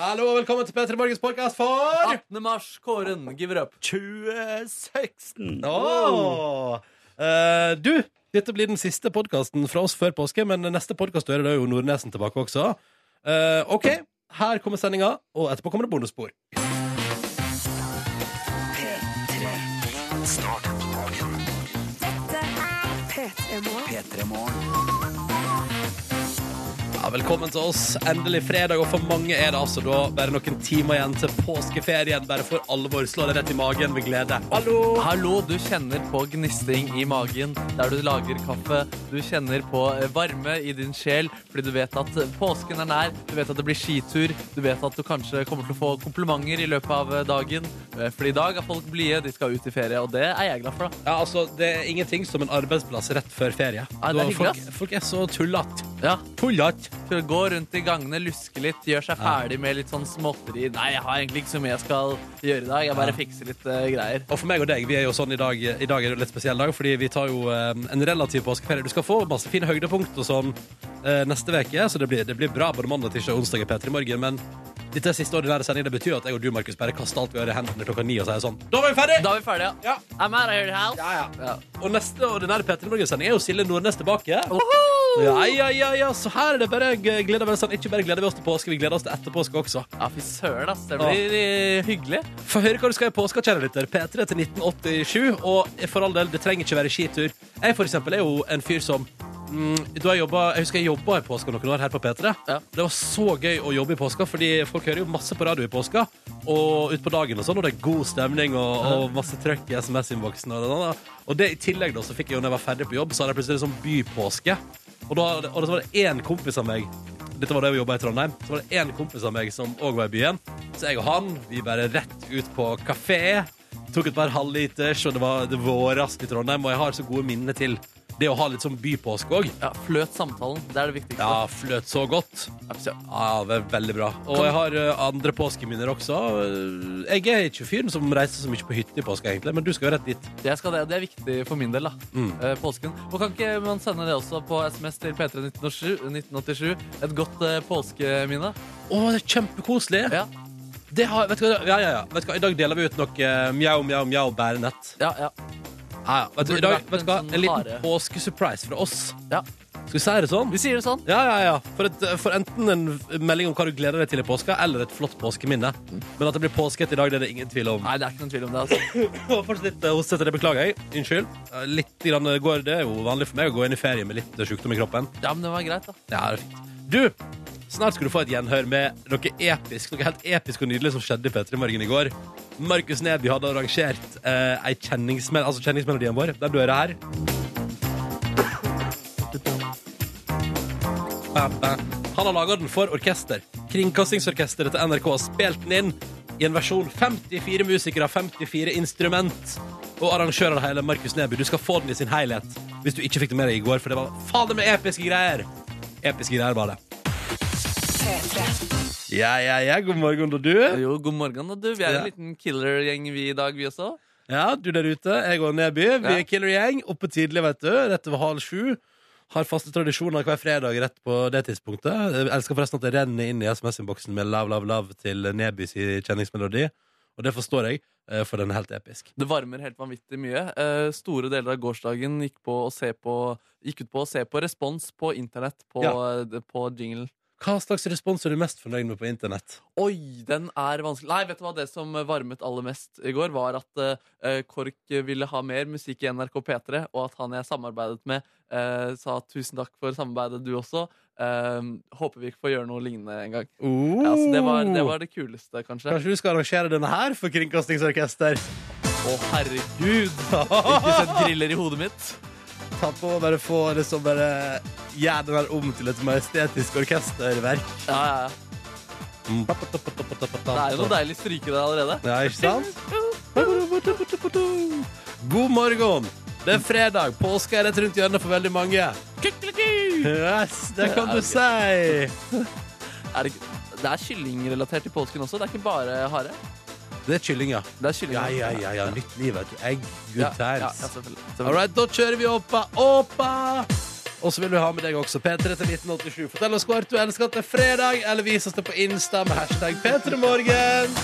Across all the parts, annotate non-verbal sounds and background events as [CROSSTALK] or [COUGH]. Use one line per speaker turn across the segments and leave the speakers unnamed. Hallo og velkommen til P3 Morgens podkast for
18. mars, Kåren, give it up.
2016.
Åh! Eh, Du, dette blir den siste podkasten fra oss før påske, men neste podkast er det jo Nordnesen tilbake også. Eh, OK, her kommer sendinga, og etterpå kommer det bonusspor. Ja, velkommen til oss. Endelig fredag, og for mange er det altså da bare noen timer igjen til påskeferien. Bare for alvor slå deg rett i magen med glede. Hallo!
Hallo, du kjenner på gnistring i magen der du lager kaffe. Du kjenner på eh, varme i din sjel fordi du vet at påsken er nær. Du vet at det blir skitur. Du vet at du kanskje kommer til å få komplimenter i løpet av eh, dagen. Eh, For i dag er folk blide, de skal ut i ferie, og det er jeg glad for, da.
Ja, altså, Det er ingenting som en arbeidsplass rett før ferie.
det er
Da
hyggelig,
folk,
ass.
folk er så tullete.
Ja,
Tullete!
til å Gå rundt i gangene, luske litt, gjøre seg ferdig med litt sånn småtteri. Nei, jeg har egentlig ikke så mye jeg skal gjøre i dag. Jeg bare fikser litt eh, greier.
Og for meg og deg, vi er jo sånn i dag I dag er det en litt spesiell dag, fordi vi tar jo eh, en relativ påskeferie. Du skal få masse fine høydepunkt og sånn eh, neste uke, så det blir, det blir bra både mandag, tirsdag og onsdag i P3 Morgen. Men dette er siste ordinære sending. Det betyr at jeg og du, Markus, bare kaster alt vi har i hendene klokka ni og sier sånn Da var vi ferdig!
Da er vi ferdige.
Ja.
I'm out of here, house.
Ja,
ja.
Og neste ordinære P3 Morgen-sending er jo Silje Nordnes tilbake. Ja, ja, ja, ja, så her er det bare g- gleder vi oss sånn. Ikke bare gleder vi oss til påske, vi gleder oss til etter påske også.
Ja, fy søren, ass. Det blir eh, hyggelig.
Få høre hva du skal i påska, kjære lytter. P3 til 1987. Og for all del, det trenger ikke være skitur. Jeg for eksempel er jo en fyr som mm, da jeg, jobba, jeg husker jeg jobba i påska noen år her på P3.
Ja.
Det var så gøy å jobbe i påska, fordi folk hører jo masse på radio i påska. Og utpå dagen og sånn, og det er god stemning og, og masse trøkk i SMS-innboksen. Og, det der, da. og det i tillegg da, så fikk jeg jo når jeg var ferdig på jobb, så hadde jeg plutselig sånn bypåske. Og, da, og så var det én kompis av meg dette var da vi jobba i Trondheim. Så var det én kompis av meg som òg var i byen. Så jeg og han vi bare rett ut på kafé. Tok et par halvliters, og det var det vårast i Trondheim. Og jeg har så gode minner til det å ha litt sånn bypåske òg.
Ja, Fløt samtalen. Det er det viktigste.
Ja, fløt så godt.
Ja, fy søren.
Ja, det er veldig bra. Og jeg har eh, andre påskeminner også. Eh, Jeg er ikke fyren som reiser så mye på hytte i påska, egentlig, men du skal jo rett dit.
Jeg skal det, det er viktig for min del. da Eh, Påsken. Og Kan ikke man sende det også på SMS til P3 1987? Et godt eh, påskeminne.
Å, det er kjempekoselig.
Ja,
Det har, vet du hva, ja, ja, ja. Vet du hva, I dag deler vi ut noe eh, mjau, mjau, mjau bærenett.
ja, ja.
Ja, ja. Vet du,
Burde
i dag,
vært
vet du hva?
en sånn
En liten
hare.
påskesurprise fra oss.
ja.
Skal vi si det sånn?
Vi sier det sånn.
Ja, ja, ja. For, et, for enten en melding om hva du gleder deg til i påska, eller et flott påskeminne.
Mm.
Men at det blir påsket i dag, det er det ingen tvil om.
Nei, det er ikke noen tvil om det. altså
Og Fortsatt litt eh, hostete, det beklager jeg. Unnskyld. Eh, Litt grann går, det er jo vanlig for meg å gå inn i ferie med litt eh, sykdom i kroppen.
Ja, men det var greit, da.
Ja, det er fint. Du, snart skal du få et gjenhør med noe episk, noe helt episk og nydelig som skjedde i P3 Morgen i går. Markus Neby hadde arrangert eh, ei kjenningsmel altså kjenningsmelodien vår. Den du hører her. Han har laga den for orkester. Kringkastingsorkesteret til NRK har spilt den inn i en versjon 54 musikere, 54 instrument. Og arrangør av det hele, Markus Neby, du skal få den i sin helhet hvis du ikke fikk det med deg i går, for det var fader med episke greier. Episke greier var det. Ja, ja, ja, god morgen, og du?
Jo, god morgen, da, du. Vi er en
Ja. liten
liten killer-gjeng vi i dag, vi også.
Ja, du der ute, jeg og Neby. Vi
Ja.
er killer-gjeng. Oppe tidlig, vet du. Rett over halv sju. Har faste tradisjoner hver fredag rett på det tidspunktet. Jeg elsker forresten at det renner inn i SMS-innboksen med lav, lav, lav til Nebys kjenningsmelodi. Og det forstår jeg, eh, for den er helt episk.
Det varmer helt vanvittig mye. Eh, store deler av gårsdagen gikk, på å se på, gikk ut på å se på respons på internett på,
Ja.
eh, på jinglen.
Hva slags respons er du mest fornøyd med på internett?
Oi, den er vanskelig. Nei, vet du hva det som varmet aller mest i går, var at eh, KORK ville ha mer musikk i NRK P3, og at han jeg samarbeidet med, eh, sa tusen takk for samarbeidet, du også. Eh, håper vi ikke får gjøre noe lignende en gang. Ja, så det, var, det var det kuleste, kanskje.
Oh. Kanskje du skal arrangere denne her for Kringkastingsorkester?
Å, herregud,
Gud!
ikke sett griller i hodet mitt.
Ta på og bare få liksom bare Gjør den her om til et majestetisk orkesterverk.
Ja, ja, ja. Det er jo noe deilig stryke der allerede.
Ja, ikke sant? God morgen! Det er fredag. Påske er rett rundt hjørnet for veldig mange. Yes, det kan du si!
Er det, ikke- det er kyllingrelatert til påsken også, det er ikke bare hare.
Det er kylling, ja.
Det er kylling.
Ja, ja, ja. ja. Nytt liv, vet du. Egg.
Ja,
Good
ja, ja,
times.
selvfølgelig.
All
selvfølgelig.
right, da kjører vi oppa. Oppa! Og så vil vi ha med deg også P3 til 1987. Fortell oss hvor du elsker at det er fredag, eller vis oss det på Insta med hashtag P3morgen.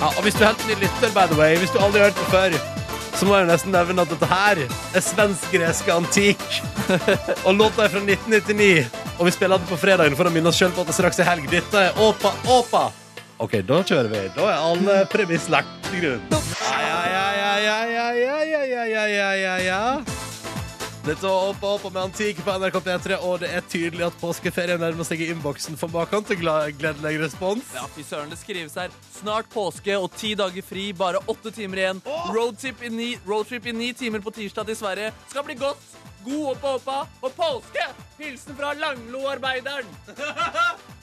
Ja, og hvis du er helt ny lytter, by the way, hvis du aldri har hørt det før, så må jeg jo nesten nevne at dette her er svensk-gresk antikk. Og låta er fra 1999, og vi spiller den på fredagen for å minne oss sjøl på at det straks er helg. Dette er Åpa Åpa. OK, da kjører vi. Da er alle premiss lagt til grunn. Ja, ja, ja, ja, ja, ja, ja, ja, ja, ja, ja, ja. Dette var Åpa Åpa med antikk på NRK P3, og det er tydelig at påskeferien nærmer seg i innboksen for maken til gla- gledelig respons.
Ja, fy søren, det skrives her. Snart påske og ti dager fri, bare åtte timer igjen. Roadtrip i ni, roadtrip i ni timer på tirsdag til Sverige. Skal bli godt. God oppa oppa og påske! Hilsen fra Langlo-arbeideren.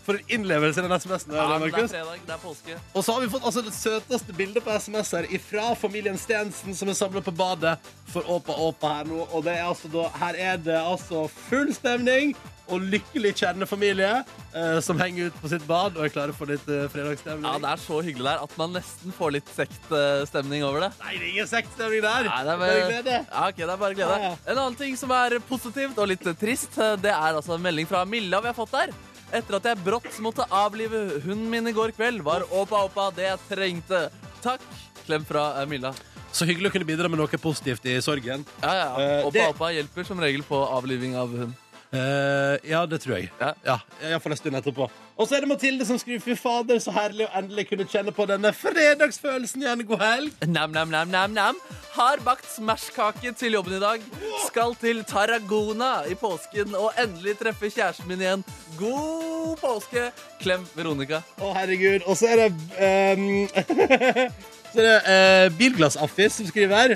For en innlevelse i den SMS-en. der,
Ja, men det er
Markus.
fredag, det er påske.
Og så har vi fått altså, det søteste bildet på SMS her fra familien Stensen, som er samla på badet for Åpa Åpa her nå. Og det er altså da, her er det altså full stemning og lykkelig kjernefamilie eh, som henger ut på sitt bad og er klare for litt eh, fredagsstemning.
Ja, Det er så hyggelig der at man nesten får litt sektstemning over det.
Nei, det er ingen sektstemning der!
Nei, det er
Bare glede.
bare, ja, ok, det er bare glede.
Ja, ja.
En annen ting som er positivt og litt eh, trist, eh, det er altså en melding fra Milla vi har fått der. Etter at jeg brått måtte avlive hunden min i går kveld, var Åpa Åpa det jeg trengte. Takk. Klem fra eh, Milla.
Så hyggelig å kunne bidra med noe positivt i sorgen.
Ja, ja.
Eh,
Åpa
det-
Åpa hjelper som regel på avliving av hund.
Eh, ja, det tror jeg.
Ja.
Ja, Iallfall en stund etterpå. Og så er det Mathilde som skriver Fy fader, så herlig å endelig kunne kjenne på denne fredagsfølelsen igjen. God helg!
Nam-nam-nam-nam-nam. Har bakt smashkake til jobben i dag. Skal til Tarragona i påsken og endelig treffe kjæresten min igjen. God påske! Klem Veronica.
Å, herregud. Og så er det ehm, [LAUGHS] Så er det eh, Bilglassaffis som skriver her.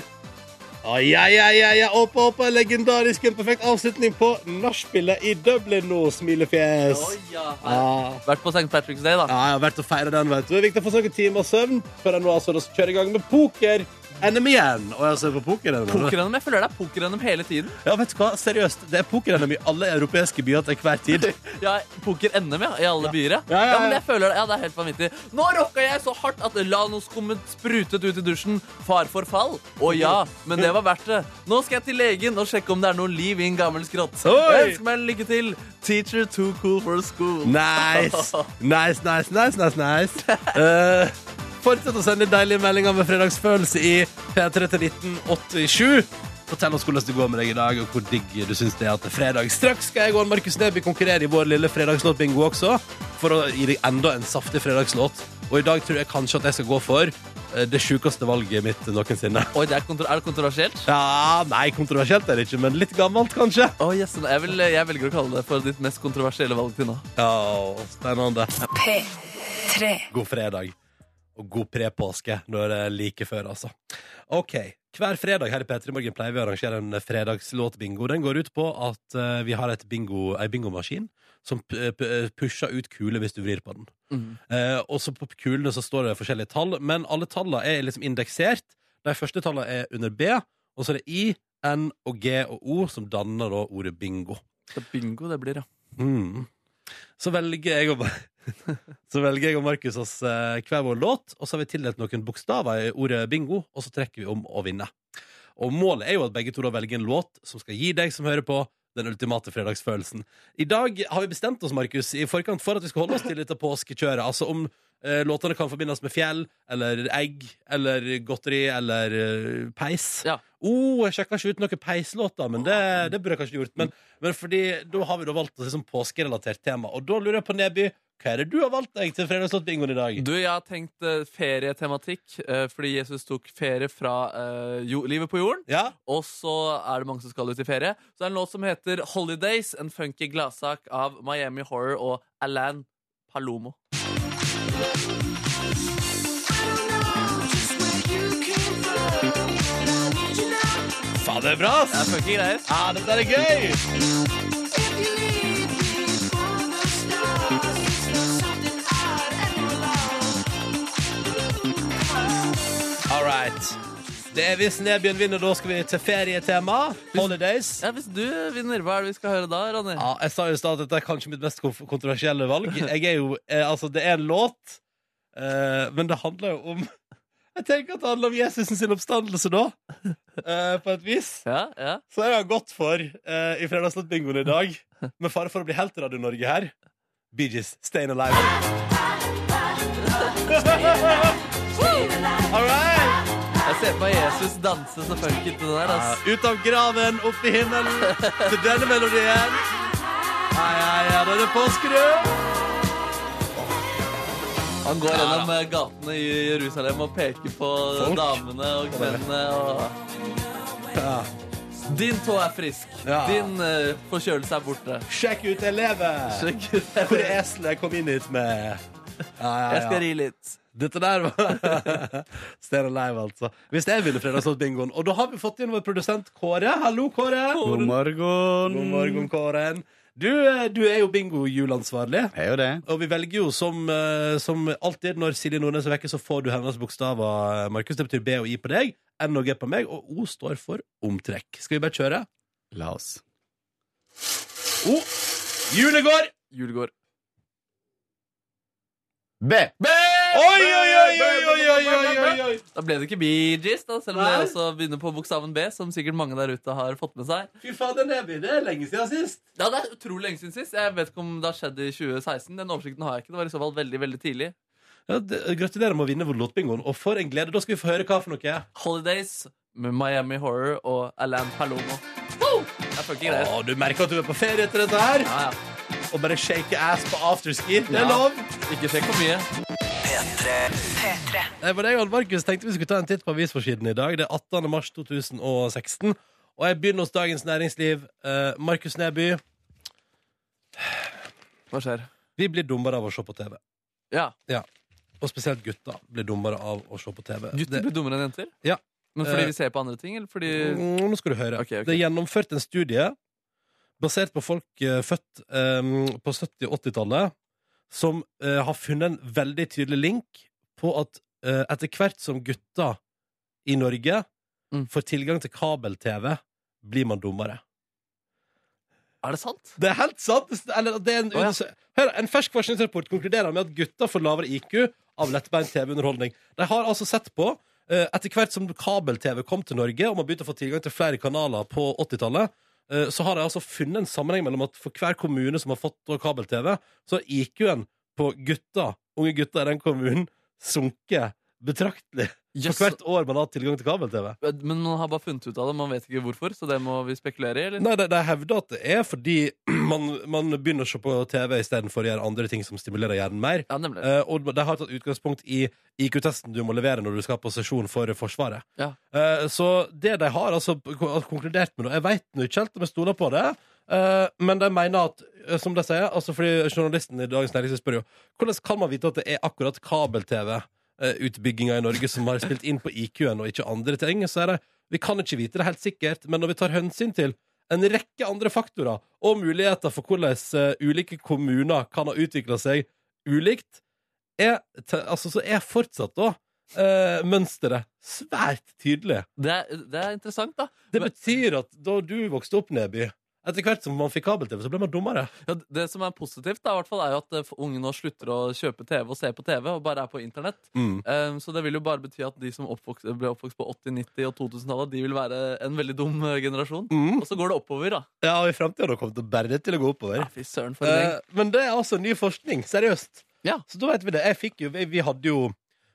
Å, ja, ja, ja, ja. Åpa, åpa. Legendarisk. En perfekt avslutning på nachspielet i Dublin nå, smilefjes. Ah.
Å, ja.
Ja.
Vært på St. Patrick's Day, da.
Ja, jeg har vært og feira den, vet du. Det er viktig å få seg noen timer søvn før jeg nå altså da kjører i gang med poker. NM igjen. Og jeg ser på poker. NM.
Poker-NM, Jeg føler det er poker-NM hele tiden.
Ja, vet du hva? Seriøst, det er poker-NM i alle europeiske byer til hver tid. [LAUGHS]
Ja, Poker-NM, ja. I alle byer, ja.
Ja, ja, ja.
men jeg føler det, ja, det er helt vanvittig. Nå rocka jeg så hardt at lanoskummet sprutet ut i dusjen. Far for fall. Å ja, men det var verdt det. Nå skal jeg til legen og sjekke om det er noe liv i en gammel skrott.
Oi!
Ønsk meg lykke til. Teacher too cool for school. [LAUGHS]
Nice, nice, nice, nice, nice, nice. Eh, fortsett å sende deilige meldinger med fredagsfølelse i P3 til 1987. Fortell oss hvordan det går med deg i dag, og hvor digg du syns det er at det er fredag. Straks skal jeg og Markus Neby konkurrere i vår lille fredagslåtbingo også, for å gi deg enda en saftig fredagslåt. Og i dag tror jeg kanskje at jeg skal gå for eh, det sjukeste valget mitt noensinne.
Oi, det er, kontro er det kontroversielt?
Ja, nei, kontroversielt er det ikke, men litt gammelt, kanskje.
Å, yes, jeg, vil, jeg velger å kalle det for ditt mest kontroversielle valg til nå.
Ja, spennende.
P3.
God fredag og god prepåske når det er like før, altså. OK. Hver fredag her i P3 Morgen pleier vi å arrangere en fredagslåtbingo. Den går ut på at eh, vi har et bingo, ei bingomaskin som p p pusher ut kuler hvis du vrir på den. Eh, og så på kulene så står det forskjellige tall, men alle tallene er liksom indeksert. De første tallene er under B, og så er det I, N og G og O som danner da ordet bingo.
Så bingo det blir, ja.
Mm. Så velger jeg og, [LAUGHS] så velger jeg og Markus oss eh, hver vår låt, og så har vi tildelt noen bokstaver i ordet bingo, og så trekker vi om å vinne. Og målet er jo at begge to da velger en låt som skal gi deg som hører på, den ultimate fredagsfølelsen. I dag har vi bestemt oss, Markus, i forkant for at vi skal holde oss til dette påskekjøret. Altså om eh, låtene kan forbindes med fjell, eller egg, eller godteri, eller eh, peis.
Ja.
Oh, jeg sjekka ikke ut noen peislåter, men det, det burde jeg kanskje gjort. Men, men fordi da har vi da valgt et liksom påskerelatert tema. Og da lurer jeg på, Neby, hva er det du har valgt deg til fredagslåtbingoen i dag?
Du, jeg har tenkt eh, ferietematikk, eh, fordi Jesus tok ferie fra eh, jo, livet på jorden.
Ja?
Og så er det mange som skal ut i ferie. Så det er en låt som heter 'Holidays', en funky gladsak av Miami Horror og Alan Palomo.
Faen, det er bra,
Det er
ass!
funky greier.
Ja, dette er gøy! All right. Det er hvis Nebyen vinner, da skal vi til ferietema. Holidays.
Ja, hvis du vinner, hva er det vi skal høre da, Ronny?
Ja, jeg sa jo i stad at dette er kanskje mitt mest konf- [LAUGHS] kontroversielle valg. Jeg er jo, eh, altså, det er en låt, eh, men det handler jo om [LAUGHS] Jeg tenker at det handler om Jesus sin oppstandelse [LAUGHS] da, eh, på et vis.
Ja, ja.
Så jeg har gått for eh, i fredagslåtbingoen i dag, med fare for å bli helt i Radio Norge her, Bee Gees, Stayin' Alive. All right!
Jeg ser på Jesus danse så funky til det der. ass.
Ut av graven, opp i himmelen, til denne melodien. Hei, hei, her er det Påskerud.
Han går gjennom eh, gatene i Jerusalem og peker på
Folk.
damene og kvinnene. Og...
Ja.
Din tå er frisk.
Ja.
Din eh, forkjølelse er borte.
Sjekk ut, jeg lever!
[LAUGHS] Sjekk ut
Hvor
det.
er eselet jeg kom inn hit med? Ja,
Jeg
ja,
skal
ja.
ri litt.
Dette der var [LAUGHS] Stayin' Alive, altså. Hvis jeg ville fredagslåtbingoen. Og da har vi fått inn vår produsent Kåre. Hallo, Kåre.
God morgen.
God morgen, Kåren. Du, eh, du er jo bingo-julansvarlig.
Jeg er jo det.
Og vi velger jo som, eh, som alltid når Silje Nordnes er vekke, så får du hennes bokstaver. eh, Markus, det betyr B og I på deg, N og G på meg, og O står for omtrekk. Skal vi bare kjøre?
La oss.
O. Julegård!
Julegård.
B.
Oi, oi, oi, oi, oi, oi, oi, oi, oi.
Da ble det ikke Bee Gees, da, selv om det
Nei.
også begynner på bokstaven B, som sikkert mange der ute har fått med seg.
Fy fader, Neby, det er lenge siden sist.
Ja, Det er utrolig lenge siden sist. Jeg vet ikke om det har skjedd i 2016. Den oversikten har jeg ikke. Det var i så fall veldig, veldig tidlig.
Ja, det- Gratulerer med å vinne låtbingoen, og for en glede. Da skal vi få høre hva for noe.
Holidays med Miami Horror og Alan Palomo. Woo! Det er fucking greit.
Å, du merker at du er på ferie etter dette her,
Ja, ja.
og bare shake ass på afterski. Det er
Ja.
lov.
Ikke sjekk for mye.
P3.
Det var det jeg og Markus tenkte vi skulle ta en titt på avisforsiden i dag. Det er 18. mars 2016. Og jeg begynner hos Dagens Næringsliv. Eh, Markus Neby,
Hva skjer?
vi blir dummere av å se på TV.
Ja,
Og spesielt gutta blir dummere av å se på TV.
Gutter
Det-
blir dummere enn jenter?
Ja.
Men fordi
Eh.
vi ser på andre ting? Eller fordi
Mm, Nå skal du høre.
Ok, ok.
Det er gjennomført en studie basert på folk eh, født eh, på 70- og 80-tallet, som eh, har funnet en veldig tydelig link på at eh, etter hvert som gutta i Norge
Mm.
får tilgang til kabel-TV, blir man dummere.
Er det sant?
Det er helt sant! Eller, det er en,
Å, ja.
undersø- Hør, en fersk forskningsrapport konkluderer med at gutta får lavere IQ av lettbeint TV-underholdning. De har altså sett på eh, etter hvert som kabel-TV kom til Norge, og man begynte å få tilgang til flere kanaler på 80-tallet, eh, så har de altså funnet en sammenheng mellom at for hver kommune som har fått da kabel-TV, så har IQ-en på gutta, unge gutta i den kommunen sunket betraktelig for
Jøss.
hvert år man har hatt tilgang til kabel-TV.
Men man har bare funnet ut av det. Man vet ikke hvorfor, så det må vi spekulere i. eller?
Nei, de, de hevder at det er fordi [CLEARS THROAT] man, man begynner å se på TV istedenfor å gjøre andre ting som stimulerer hjernen mer.
Ja, nemlig.
Eh, og de har tatt utgangspunkt i IQ-testen du må levere når du skal på sesjon for Forsvaret.
Ja.
Eh, så det de har altså kon- konkludert med, da Jeg veit ikke helt om jeg stoler på det, eh, men de mener at eh, som de sier, altså fordi Journalisten i Dagens Næringsliv spør jo hvordan kan man vite at det er akkurat kabel-TV-utbygginga i Norge som har spilt inn på IQ-en, og ikke andre ting. Så er det vi kan ikke vite det helt sikkert, men når vi tar hensyn til en rekke andre faktorer og muligheter for hvordan eh, ulike kommuner kan ha utvikla seg ulikt, er, te, altså, så er fortsatt da eh, mønsteret svært tydelig.
Det, er, det er interessant, da.
Det
Men-
betyr at da du vokste opp, Neby etter hvert som man fikk kabel-TV, så ble man dummere.
Ja, det som er positivt, da, i hvert fall, er jo at eh, unge nå slutter å kjøpe TV og se på TV, og bare er på internett. Eh, så det vil jo bare bety at de som oppvokst, ble oppvokst på 80-, 90- og 2000-tallet, de vil være en veldig dum eh, generasjon.
Mm.
Og så går det oppover, da.
Ja, og i framtida kommer det bare til å gå oppover.
Ja, fy søren for en gjeng.
Eh, men det er altså ny forskning. Seriøst.
Ja.
Så da vet vi det. Jeg fikk jo, vi, vi hadde jo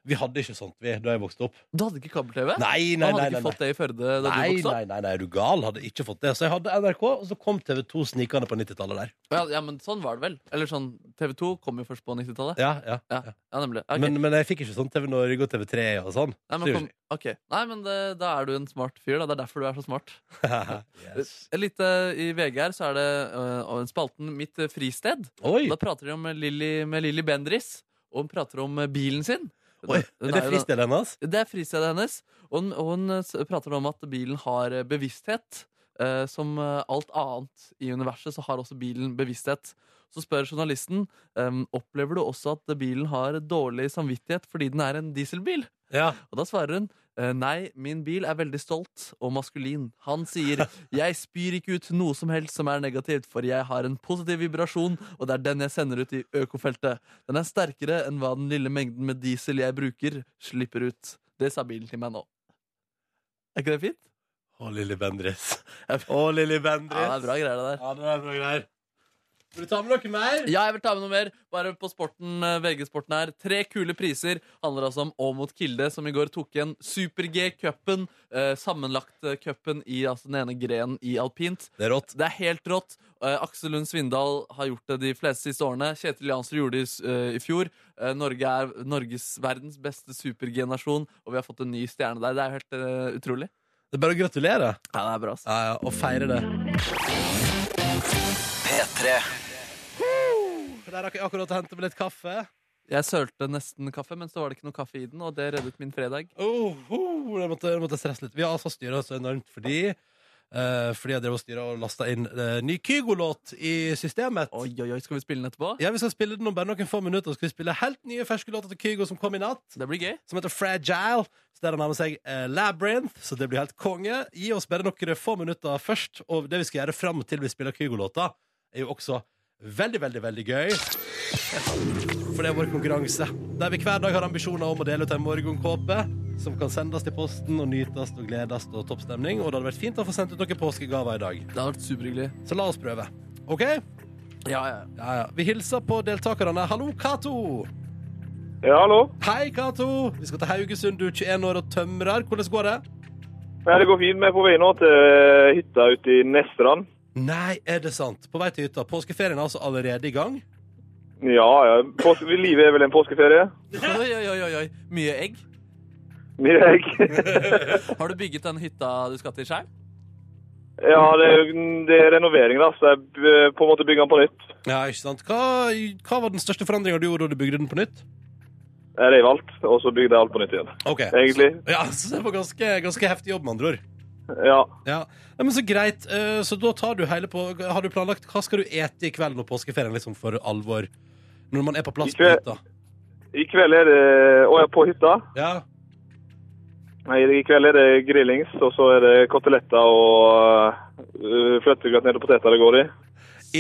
Vi hadde ikke sånt vi, da jeg vokste opp.
Du hadde ikke kabel-TV?
Nei,
Man
nei, nei.
hadde ikke
nei, nei.
fått det i Førde da
Nei,
du vokste opp?
nei, nei, nei, er du gal? Hadde ikke fått det. Så jeg hadde NRK, og så kom TV2 snikende på 90-tallet der.
Ja, ja, men sånn var det vel. Eller sånn, TV2 kom jo først på 90-tallet.
Ja, ja.
Ja, ja, nemlig. Ok.
Men, men jeg fikk ikke sånn TV Norge og TV3 og sånn.
Nei, men, kom, ok. Nei, men det, da er du en smart fyr. Da. Det er derfor du er så smart.
[LAUGHS] yes.
Et lite eh, i VG her, så er det øh, spalten Mitt eh, fristed.
Oi!
Da prater de om eh, Lilly, med Lilly Bendris, og hun prater om eh, bilen sin.
Oi,
Hun
er det
jo da-
fristedet hennes?
Det er fristedet hennes. Og hun, og hun eh, s- prater om at bilen har eh, bevissthet. Eh, som eh, alt annet i universet, så har også bilen bevissthet. Så spør journalisten um, opplever du også at bilen har dårlig samvittighet fordi den er en dieselbil.
Ja.
Og da svarer hun eh, nei, min bil er veldig stolt og maskulin. Han sier jeg spyr ikke ut noe som helst som er negativt, for jeg har en positiv vibrasjon, og det er den jeg sender ut i økofeltet. Den er sterkere enn hva den lille mengden med diesel jeg bruker, slipper ut. Det sa bilen til meg nå. Er ikke det fint?
Å, Lilly Bendriss. Å, Lilly Bendriss.
Ja, det er bra greier, det der.
Ja, det er bra greier. Vil du ta med noe mer?
Ja, jeg vil ta med noe mer. Bare på sporten, eh, VG-sporten her. Tre kule priser handler altså om Aamodt Kilde, som i går tok igjen Super-G-cupen. Eh, Sammenlagt-cupen i altså, den ene grenen i alpint.
Det er rått.
Det er helt rått. Eh, Aksel Lund Svindal har gjort det de fleste siste årene. Kjetil Jansrud gjorde det i s- eh, i fjor. Eh, Norge er Norges verdens beste super-G-nasjon, og vi har fått en ny stjerne der. Det er jo helt eh, utrolig.
Det er bare å gratulere.
Ja, det er bra, ass.
Ja, ja, og feire det.
P3.
Der rakk jeg akkurat å hente med litt kaffe.
Jeg sølte nesten kaffe, men så var det ikke noe kaffe i den, og det reddet min fredag.
Oh, oh, det måtte, det måtte stresse litt. Vi har altså styra så enormt fordi eh, Fordi jeg drev og styra og lasta inn eh, ny Kygo-låt i systemet.
Oi, oi, oi, skal vi spille den etterpå?
Ja, Vi skal spille den om bare noen få minutter. Skal vi spille helt nye ferske låter til Kygo som kom i natt.
Det blir gøy.
Som heter Fragile. Så Der han har med seg eh, Labyrinth. Så det blir helt konge. Gi oss bare noen få minutter først. Og det vi skal gjøre fram til vi spiller Kygo-låta, er jo også veldig, veldig, veldig gøy. For det er vår konkurranse. Der vi hver dag har ambisjoner om å dele ut en morgenkåpe som kan sendes til posten og nytes og gledes og toppstemning. Og det hadde vært fint å få sendt ut noen påskegaver i dag.
Det har vært superhyggelig.
Så la oss prøve. OK?
Ja, ja.
Ja, ja. Vi hilser på deltakerne. Hallo, Cato.
Ja, hallo.
Hei, Cato. Vi skal til Haugesund. Du er 21 år og tømrer. Hvordan går det?
Nei, det går fint. Vi er på vei nå til eh, hytta ute i Nestrand.
Nei, er det sant? På vei til hytta. Påskeferien er altså allerede i gang.
Ja, ja. Pås livet er vel en påskeferie?
Oi, oi, oi, oi, oi. Mye egg.
Mye egg. [LAUGHS]
Har du bygget den hytta du skal til sjøl?
Ja, det er, jo- det er renovering, da, så jeg eh, på en måte bygger den på nytt.
Ja, ikke sant? Hva, hva var den største forandringa du gjorde da du bygde den på nytt?
Jeg reiv alt, og så bygde jeg alt på nytt igjen.
Ok.
Egentlig.
Ja, [LAUGHS] så det var ganske, ganske heftig jobb, med andre ord.
Ja.
Ja, Nei, men Så greit. Eh, Så da tar du hele på Har du planlagt hva skal du ete i kveld når påskeferien liksom for alvor? Når man er på plass på
Ikke-
hytta?
I kveld er det Å, jeg er på hytta.
Ja.
Nei, I kveld er det grillings, og så er det koteletter og uh, fløtegratinerte poteter det går i.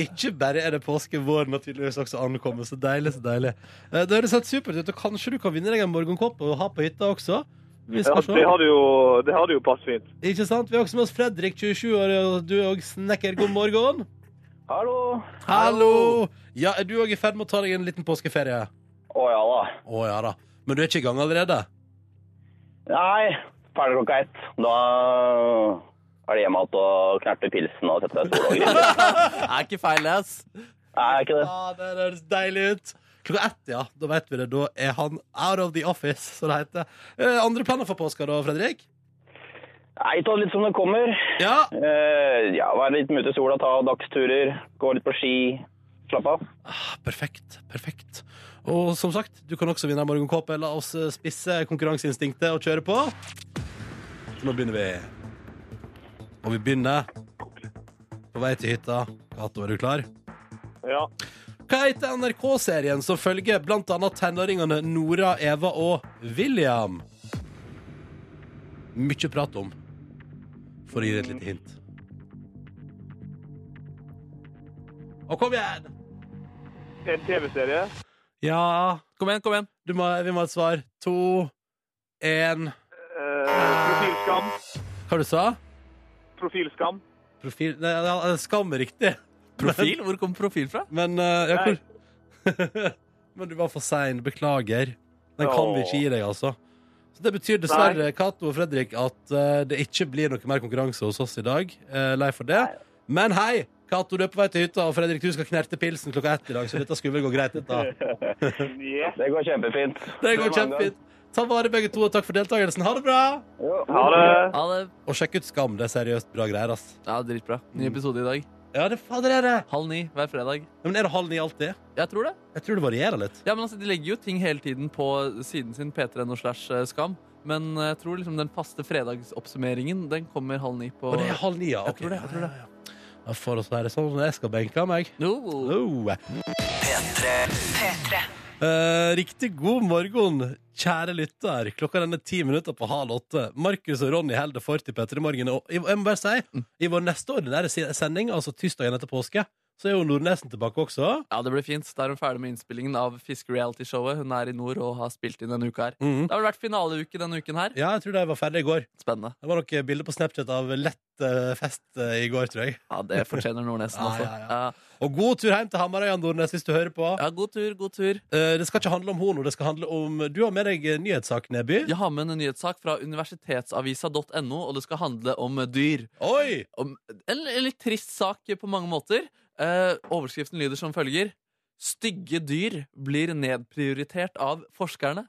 Ikke bare er det påske, våren har tydeligvis også ankommet. Så deilig, så deilig. Eh, Det høres helt supert ut, og kanskje du kan vinne deg en morgenkåpe og ha på hytta også? Vi
Ja,
skal
det
se.
hadde jo, det hadde jo passet fint.
Ikke sant? Vi har også med oss Fredrik, 27 år, og du er òg snekker. God morgen.
Hallo.
Hallo! Ja, Er du òg i ferd med å ta deg en liten påskeferie?
Å ja da.
Å ja da. Men du er ikke i gang allerede?
Nei, ferdig klokka ett. Da er det hjemme igjen og knerter pilsen og setter seg i sola og griller.
Er ikke feil, det, ass.
Nei, ikke det.
Ja, det høres deilig ut. Klokka ett, ja. Da vet vi det. Da er han out of the office, som det heter. Eh, andre planer for påska da, Fredrik?
Nei, ta det litt som det kommer.
Ja.
Eh, ja, Være litt med ute i sola, ta dagsturer, gå litt på ski. Slapp av.
Ah, perfekt. Perfekt. Og som sagt, du kan også vinne en morgenkåpe. La oss eh, spisse konkurranseinstinktet og kjøre på. Nå begynner vi. Og vi begynner på vei til hytta. Cato, er du klar?
Ja.
Hva heter NRK-serien som følger blant annet tenåringene Nora, Eva og William? Mykje prat om, for å gi deg et lite hint. Og kom igjen!
En TV-serie.
Ja
Kom igjen, kom igjen.
du må, Vi må ha et svar. To, én
Eh, profilskam.
Hva du sa du?
Profilskam.
Profil Nei, ja, Skam er riktig. [LAUGHS]
Profil? Hvor kom profil fra?
Men eh, ja, hvor [LAUGHS] Men du var for sein. Beklager. Den kan vi ikke gi deg, altså. Så Det betyr dessverre Kato og Fredrik, at eh, det ikke blir noe mer konkurranse hos oss i dag. Eh, lei for det. Men hei, Kato, du er på vei til hytta, og Fredrik, du skal knerte pilsen klokka ett i dag. Så dette skulle vel gå greit, dette.
Yeah.
Det går kjempefint.
Det går kjempefint. Ta vare, begge to, og takk for deltakelsen. Ha det bra!
Jo,
Ha det.
Ja, det
Og sjekk ut Skam. Det er seriøst bra greier, ass.
ja, dritbra. Ny episode i dag.
Ja, det fader er det.
Halv ni hver fredag.
Men er det halv ni alltid?
Jeg tror det.
Jeg tror det varierer litt.
Ja, men altså, De legger jo ting hele tiden på siden sin, p3.no slash eh, skam. Men jeg tror liksom den faste fredagsoppsummeringen den kommer halv ni på
Og det er halv ni, ja.
Jeg
Ok,
tror det, jeg tror det.
ja, ja, ja. Ja, For å være sånn som jeg skal benke meg.
Jo.
Oh.
P3. P3.
Eh, riktig god morgen, kjære lytter. Klokka den er ti minutter på halv åtte. Markus og Ronny holder Mm. for til Petter i morgen. Og jeg må bare si, i vår neste ordinære se- sending, altså tirsdagen etter påske, så er jo Nordnesen tilbake også.
Ja, det blir fint. Da er hun ferdig med innspillingen av Fiskereality-showet. Hun er i nord og har spilt inn denne uka her.
Mhm.
Det har vel vært finaleuke denne uken her.
Ja, jeg tror de var ferdig i går.
Spennende.
Det var noen bilder på Snapchat av lett eh, fest eh, i går, tror jeg.
Ja, det fortjener Nordnesen
Ja,
også.
ja, ja.
Ja.
Og god tur hjem til Hamarøy, Jan Nordnes, hvis du hører på.
ja, god tur, god tur.
Eh, det skal ikke handle om Hono, det skal handle om Du har med deg eh, nyhetssak, Neby.
Jeg har med en nyhetssak fra universitetsavisa.no, og det skal handle om dyr.
Oi!
Om en en litt trist sak på mange måter. Eh, overskriften lyder som følger. Stygge dyr blir nedprioritert av forskerne.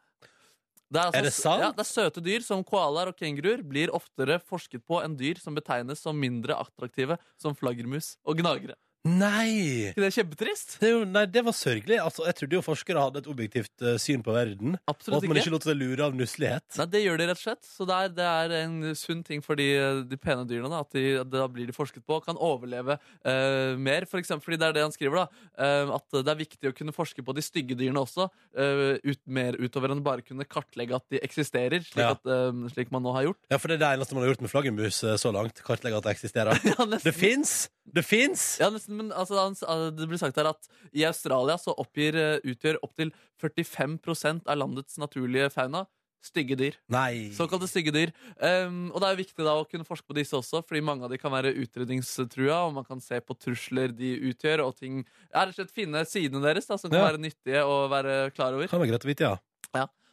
Det altså-
Er det sant?
Ja, det er søte dyr som koalaer og kenguruer blir oftere forsket på enn dyr som betegnes som mindre attraktive som flaggermus og gnagere.
Nei!
Er ikke det kjempetrist?
Det, er jo, nei, det var sørgelig. Altså, jeg trodde jo forskere hadde et objektivt eh, syn på verden. Og
Absolutt
at man
ikke.
ikke lot seg lure av nusselighet.
Nei, Det gjør de rett og slett. Så det er, det er en sunn ting for de, de pene dyrene. Da, at de, da blir de forsket på og kan overleve eh, mer. For eksempel, fordi det er det han skriver, da. eh, at det er viktig å kunne forske på de stygge dyrene også. eh, ut, mer utover enn bare kunne kartlegge at de eksisterer, slik,
Ja.
at, eh, slik man nå har gjort.
Ja, for det er det eneste man har gjort med flaggermus eh, så langt. Kartlegge at det eksisterer.
[LAUGHS] Ja, nesten.
Det fins! Det fins!
Ja, nesten, men altså, han s- ah, det blir sagt her at i Australia så oppgir, eh, utgjør opptil 45 av landets naturlige fauna stygge dyr.
Nei.
Såkalte stygge dyr. Um, og det er jo viktig da å kunne forske på disse også, fordi mange av de kan være utrydningstrua, og man kan se på trusler de utgjør, og ting ja, Rett og slett finne sidene deres da, som kan
Ja.
være nyttige å være klar over.
Kan være greit å vite, ja.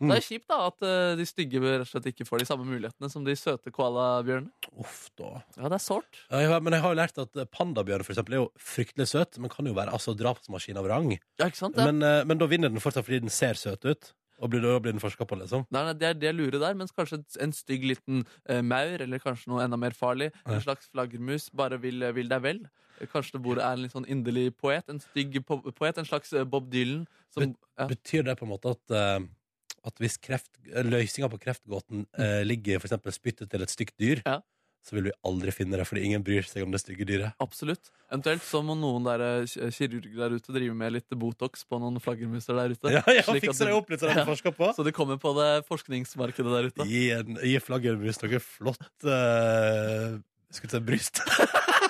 Mm.
Så Det er kjipt da at eh, de stygge rett og slett ikke får de samme mulighetene som de søte koalabjørnene.
Uff, da.
Ja, det er sårt.
Ja, jeg har- men jeg har jo lært at eh, pandabjørn for eksempel, er jo fryktelig søt, men kan jo være altså, drapsmaskin av rang.
Ja, ikke sant? Ja.
Men, eh, men da vinner den fortsatt fordi den ser søt ut. Og blir, da blir den forska på, liksom.
Nei, nei, det er det jeg lurer der, mens kanskje en stygg liten eh, maur, eller kanskje noe enda mer farlig,
Ja.
en slags flaggermus, bare vil, eh, vil deg vel. Kanskje det bor er en litt sånn inderlig poet, en stygg po poet, en slags eh, Bob Dylan, som Ja.
Betyr det på en måte at, eh, at hvis kreft, løsninga på kreftgåten eh, ligger i for eksempel spyttet til et stygt dyr,
Ja.
så vil vi aldri finne det, fordi ingen bryr seg om det stygge dyret.
Absolutt. Eventuelt så må noen der, eh, ki- kirurger der ute drive med litt Botox på noen flaggermuser der ute.
[LAUGHS] Ja, ja,
slik at
Fikser
de-
det opp litt, så de får forska på.
Så de kommer på det forskningsmarkedet der ute.
Gi, en- gi flaggermus noe flott uh, Skulle til bryst. [LAUGHS]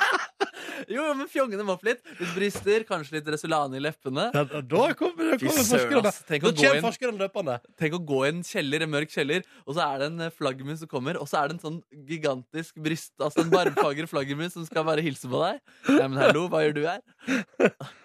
Jo, jo, men fjongene må opp litt. Litt bryster, kanskje litt Resolane i leppene.
Ja, da kommer, da
Fy
kommer
søren,
forskerne.
ass. Tenk
Da
å gå
kommer
inn
forskerne løpende.
Tenk å gå i en kjeller, en mørk kjeller, og så er det en eh, flaggermus som kommer, og så er det en sånn gigantisk bryst, altså en varmfager flaggermus som skal bare hilse på deg. Nei, men hallo, hva gjør du her?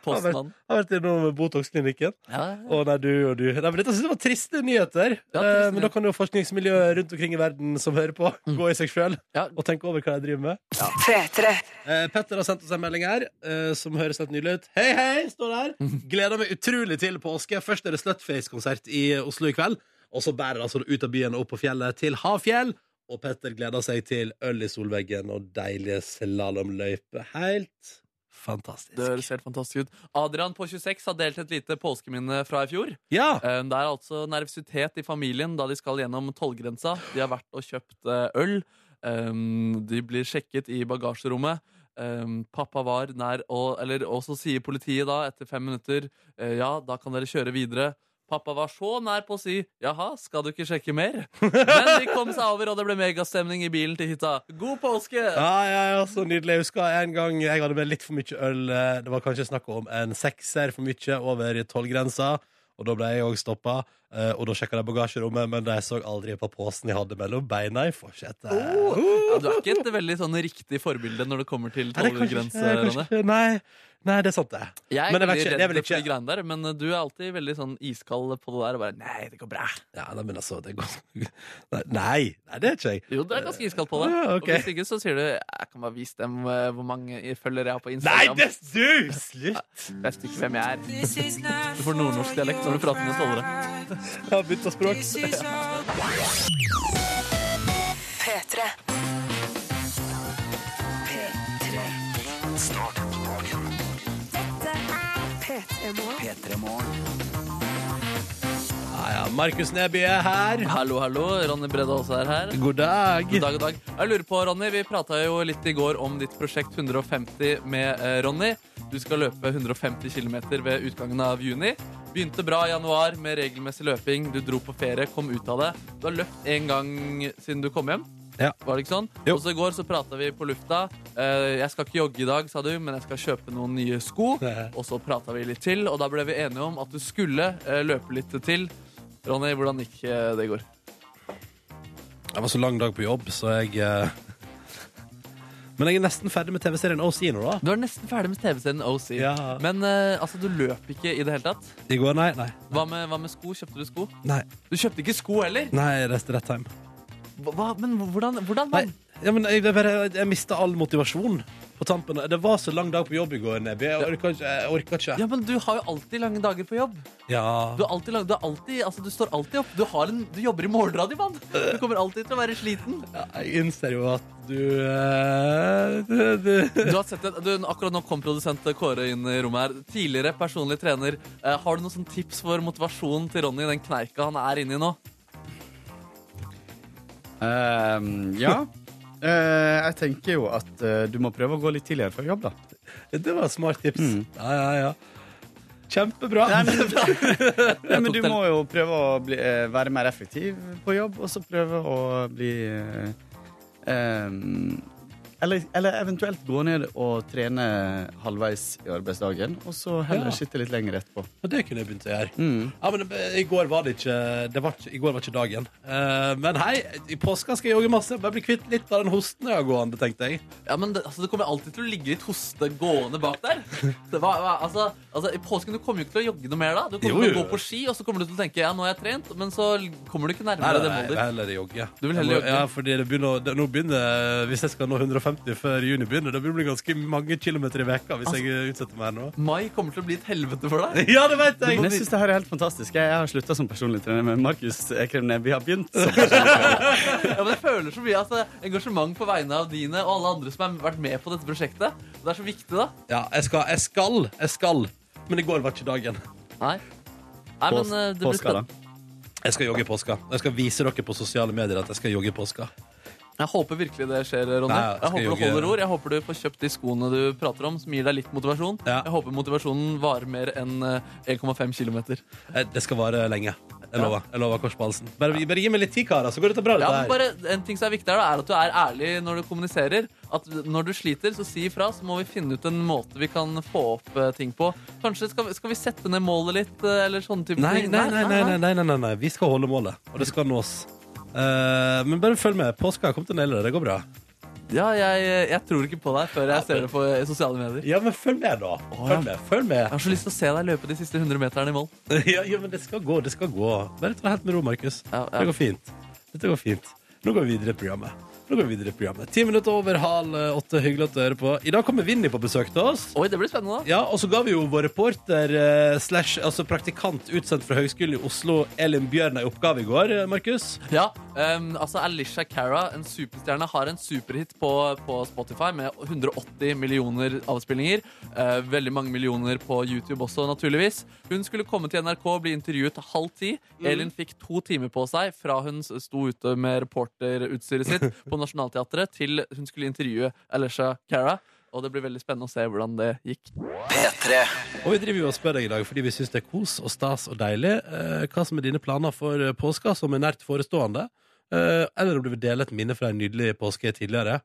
Postmann.
Jeg har vært innom Botox-klinikken.
Ja,
Å nei, du og du. Nei, men dette synes jeg var triste nyheter.
Ja,
Eh,
triste
men
nyheter. Mm.
da kan jo forskningsmiljøet rundt omkring i verden som hører på, gå i seg sjøl
Ja.
og tenke over hva de driver med.
P3.
Eh, Petter har sendt oss en melding her eh, som høres helt nydelig ut. Hei, hei! står der.
Mm.
Gleder meg utrolig til påske. Først er det Slutface-konsert i Oslo i kveld. Og så bærer det altså ut av byen og opp på fjellet til Hafjell. Og Petter gleder seg til øl i solveggen og deilige slalåmløyper. Helt fantastisk.
Det høres helt fantastisk ut. Adrian på 26 har delt et lite påskeminne fra i fjor.
Ja!
Eh, Det er altså nervøsitet i familien da de skal gjennom tollgrensa. De har vært og kjøpt eh, øl. Um, De blir sjekket i bagasjerommet. Um, Pappa var nær og, eller, og så sier politiet da etter fem minutter eh, Ja, da kan dere kjøre videre. Pappa var så nær på å si 'jaha, skal du ikke sjekke mer?' Men de kom seg over, og det ble megastemning i bilen til hytta. God påske!
Ja, ja, ja, så nydelig. Jeg husker en gang jeg hadde med litt for mye øl. eh, Det var kanskje snakk om en sekser for mye over i tolvgrensa. Og da ble jeg òg stoppa, og da sjekka de bagasjerommet, men de så aldri på posen jeg hadde mellom beina i forsetet.
Ja, du er ikke et veldig sånn riktig forbilde når det kommer til
Nei, det er kanskje- det er
tollgrenserane.
kanskje- Nei, nei, det er sant, det.
Jeg er
Men jeg vet
veldig
ikke, det er
redd
vel ikke-
for de greiene der, men eh, du er alltid veldig sånn iskald på det der. Og bare, nei, det går bra.
Ja, nei, men altså det går... [LAUGHS] Nei, Nei, nei, det er ikke jeg.
Jo, du er ganske iskald på det.
Ja, ok.
Og hvis ikke, så sier du jeg kan bare vise dem eh, hvor mange følgere jeg har på
Nei,
Instagram.
det er du! Slutt!
Jeg vet ikke hvem jeg er. Du får nordnorsk dialekt når du prater med stålere.
Jeg har bytta språk.
P3. P3.
Start på dagen.
P3 Morgen.
P3 Morgen.
Ja, ja, Markus Neby er her.
Hallo, hallo. Ronny Breda også er her.
God dag.
God dag, god dag. Jeg lurer på, Ronny, Vi prata jo litt i går om ditt prosjekt 150 med eh, Ronny. Du skal løpe 150 km ved utgangen av juni. Begynte bra i januar med regelmessig løping. Du dro på ferie, kom ut av det. Du har løpt én gang siden du kom hjem.
Ja.
Var det ikke sånn?
Jo.
Og så i går så prata vi på lufta. Eh, jeg skal ikke jogge i dag, sa du, men jeg skal kjøpe noen nye sko. Og så prata vi litt til, og da ble vi enige om at du skulle eh, løpe litt til. Ronny, hvordan gikk eh, det i går?
Det var så lang dag på jobb, så jeg eh, Men jeg er nesten ferdig med TV-serien OC nå, da.
Du er nesten ferdig med TV-serien OC.
Ja.
Men eh, altså, du løp ikke i det hele tatt.
I går, nei. Nei.
Hva med, hva med sko? Kjøpte du sko?
nei,
Du kjøpte ikke sko heller!
nei rest rett hjem.
Hva, men hvordan, hvordan
Nei, ja, men jeg, jeg, bare- jeg mista all motivasjon på tampen. Det var så lang dag på jobb i går, Nebby. Jeg orka ikke. Jeg orka ikke.
Ja, men Du har jo alltid lange dager på jobb.
Ja.
Du, er alltid lang, du, er alltid, altså, du står alltid opp. Du, har en, du jobber i morgenradio, mann. Du kommer alltid til å være sliten.
Jeg innser jo at du, eh, [LAUGHS] du, du
Du har sett det, du, akkurat nå kom produsent Kåre inn i rommet her. Tidligere personlig trener. Eh, har du noen sånne tips for motivasjon til Ronny, den kneika han er inni nå?
Ehm, ja. [LAUGHS] Eh, jeg tenker jo at eh, du må prøve å gå litt tidligere fra jobb, da.
Det var et smart tips.
Mm.
Ja, ja, ja. Kjempebra.
Nei, men
tok
du
den.
må jo prøve å bli, eh, være mer effektiv på jobb, og så prøve å bli eh, ehm, eller, eller eventuelt gå ned og trene halvveis i arbeidsdagen, og så
Ja.
heller sitte litt lenger etterpå.
Og det kunne jeg begynt å gjøre.
Mm.
Ja, men eh, I går var det ikke, det var ikke, i går var ikke dagen. Eh, men hei, i påska skal jeg jogge masse. Bare bli kvitt litt av den hosten jeg har gående, tenkte jeg.
Ja, men det, altså, det kommer alltid til å ligge litt hoste gående bak der. Det var, var, altså, altså, I påsken du kommer jo ikke til å jogge noe mer da. Du kommer
Jo,
til å
jo.
gå på ski, og så kommer du til å tenke ja, nå har jeg trent, men så kommer du ikke nærmere det
jeg vil
målet.
heller jogge.
Du vil heller
Jeg må-
jogge?
Ja, fordi det begynner, å- det, nå begynner eh, Hvis jeg skal nå 150 før juni begynner, det blir ganske mange kilometer i veka hvis jeg
Altså-
eh, utsetter meg nå. [LAUGHS]
Mai kommer til å bli et helvete for deg.
Ja, det vet
Men Jeg
jeg!
syns det her er helt fantastisk. Jeg jeg har slutta som personlig trener, men Markus Ekrem Neby har [LAUGHS] begynt. som
Ja, men Jeg føler så mye altså, engasjement på vegne av dine og alle andre som har vært med på dette prosjektet. Det er så viktig, da.
Ja, jeg skal, jeg skal, jeg skal. Men i går var ikke dagen.
Nei, Nei men eh, det blir
påska, da.
spennende.
Jeg skal jogge i påska. Jeg skal vise dere på sosiale medier at jeg skal jogge i påska.
Jeg håper virkelig det skjer, Ronny.
Nei, jeg
jeg
skal
håper du
jogge.
holder ord. Jeg håper du får kjøpt de skoene du prater om, som gir deg litt motivasjon.
Ja.
Jeg håper motivasjonen varer mer enn eh, 1,5 km.
Eh, Det skal vare lenge. Jeg lover. Jeg lover kors på halsen. Bare, bare gi meg litt tid, karer, så går dette bra.
Ja,
Dette
men
her.
bare En ting som er viktig, her, da, er at du er ærlig når du kommuniserer. At Når du sliter, så si ifra. Så må vi finne ut en måte vi kan få opp eh, ting på. Kanskje skal vi, skal vi sette ned målet litt, eh, eller sånne type
Nei,
ting?
nei, nei, nei, nei, nei, nei, nei, nei. Vi skal holde målet, og det skal nås. Eh, men bare følg med. Påska kommer til å naile det. Det går bra.
Ja, jeg, jeg tror ikke på deg før jeg ser det på eh, sosiale medier.
Ja, men følg med, da. Følg med. Følg
Jeg
med. [LAUGHS]
har så lyst til å se deg løpe de siste 100 meterne i mål.
Ja, ja, men det skal gå. Det skal gå. Bare ta det helt med ro, Markus.
Ja, ja.
Det går fint. Dette går fint. Nå går vi videre i programmet. Nå går vi videre i programmet. Ti minutter over halv åtte. Hyggelig at du hører på. I dag kommer Vinni på besøk til oss.
Oi, det blir spennende. da
Ja, og så ga vi jo vår reporter eh, slash altså praktikant utsendt fra Høgskolen i Oslo, Elin Bjørn, en oppgave i går, eh, Markus.
Ja, ehm, altså Alicia Cara, en superstjerne, har en superhit på, på Spotify med 180 millioner avspillinger. Eh, veldig mange millioner på YouTube også, naturligvis. Hun skulle komme til NRK og bli intervjuet halv ti. Elin fikk to timer på seg fra hun s- sto ute med reporterutstyret sitt på Nationaltheatret, til hun skulle intervjue Alicia Cara. Og det blir veldig spennende å se hvordan det gikk.
P3
Og vi driver jo og spør deg i dag fordi vi syns det er kos og stas og deilig. Eh, hva som er dine planer for eh, påska som er nært forestående? Eh, eller om du vil dele et minne fra en nydelig påske tidligere.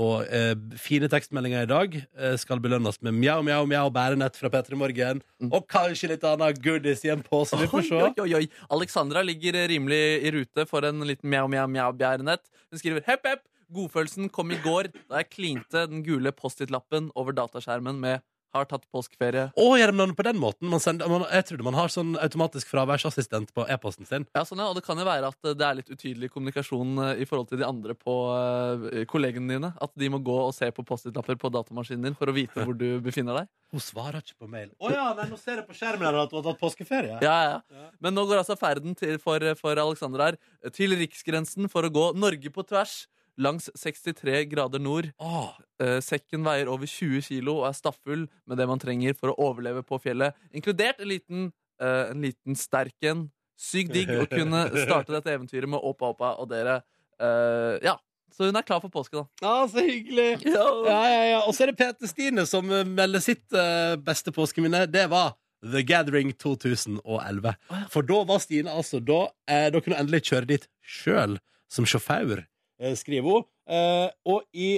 Og eh, fine tekstmeldinger i dag eh, skal belønnes med mjau, mjau, mjau, bærenett fra P3 Morgen. Og kanskje litt annet goodies i en pose. Vi får se.
Mm. Oi, oi, oi. Alexandra ligger rimelig i rute for en liten mjau, mjau, mjau bjærenett. Hun skriver hepp, hepp. Godfølelsen kom i går da jeg klinte den gule Post-It-lappen over dataskjermen med 'Har tatt påskeferie'.
Å, gjør de navnet på den måten? Man sender, man, jeg trodde man har sånn automatisk fraværsassistent på e-posten sin.
Ja, sånn, ja. Og det kan jo være at eh, det er litt utydelig kommunikasjon eh, i forhold til de andre på eh, kollegene dine. At de må gå og se på Post-It-lapper på datamaskinen din for å vite hvor du befinner deg.
Hun svarer ikke på mail. Å ja, nei, nå ser jeg på skjermen her at du har tatt påskeferie.
Ja, ja, ja. Men nå går altså ferden til, for, for Alexander her til riksgrensen for å gå Norge på tvers langs 63 grader nord.
Åh,
Eh, Sekken veier over 20 kilo og er stappfull med det man trenger for å overleve på fjellet, inkludert en liten, eh, en liten sterk en. Sykt digg å [LAUGHS] kunne starte dette eventyret med Åpa Åpa og dere. Eh, ja, så hun er klar for påske, da.
ah, så hyggelig. Ja, ja, ja. Og så er det Peter Stine som eh, melder sitt eh, beste påskeminne. Det var The Gathering 2011. For da var Stine altså da, eh, da kunne hun endelig kjøre dit sjøl, som sjåfør. eh, skriver hun. Eh, og i,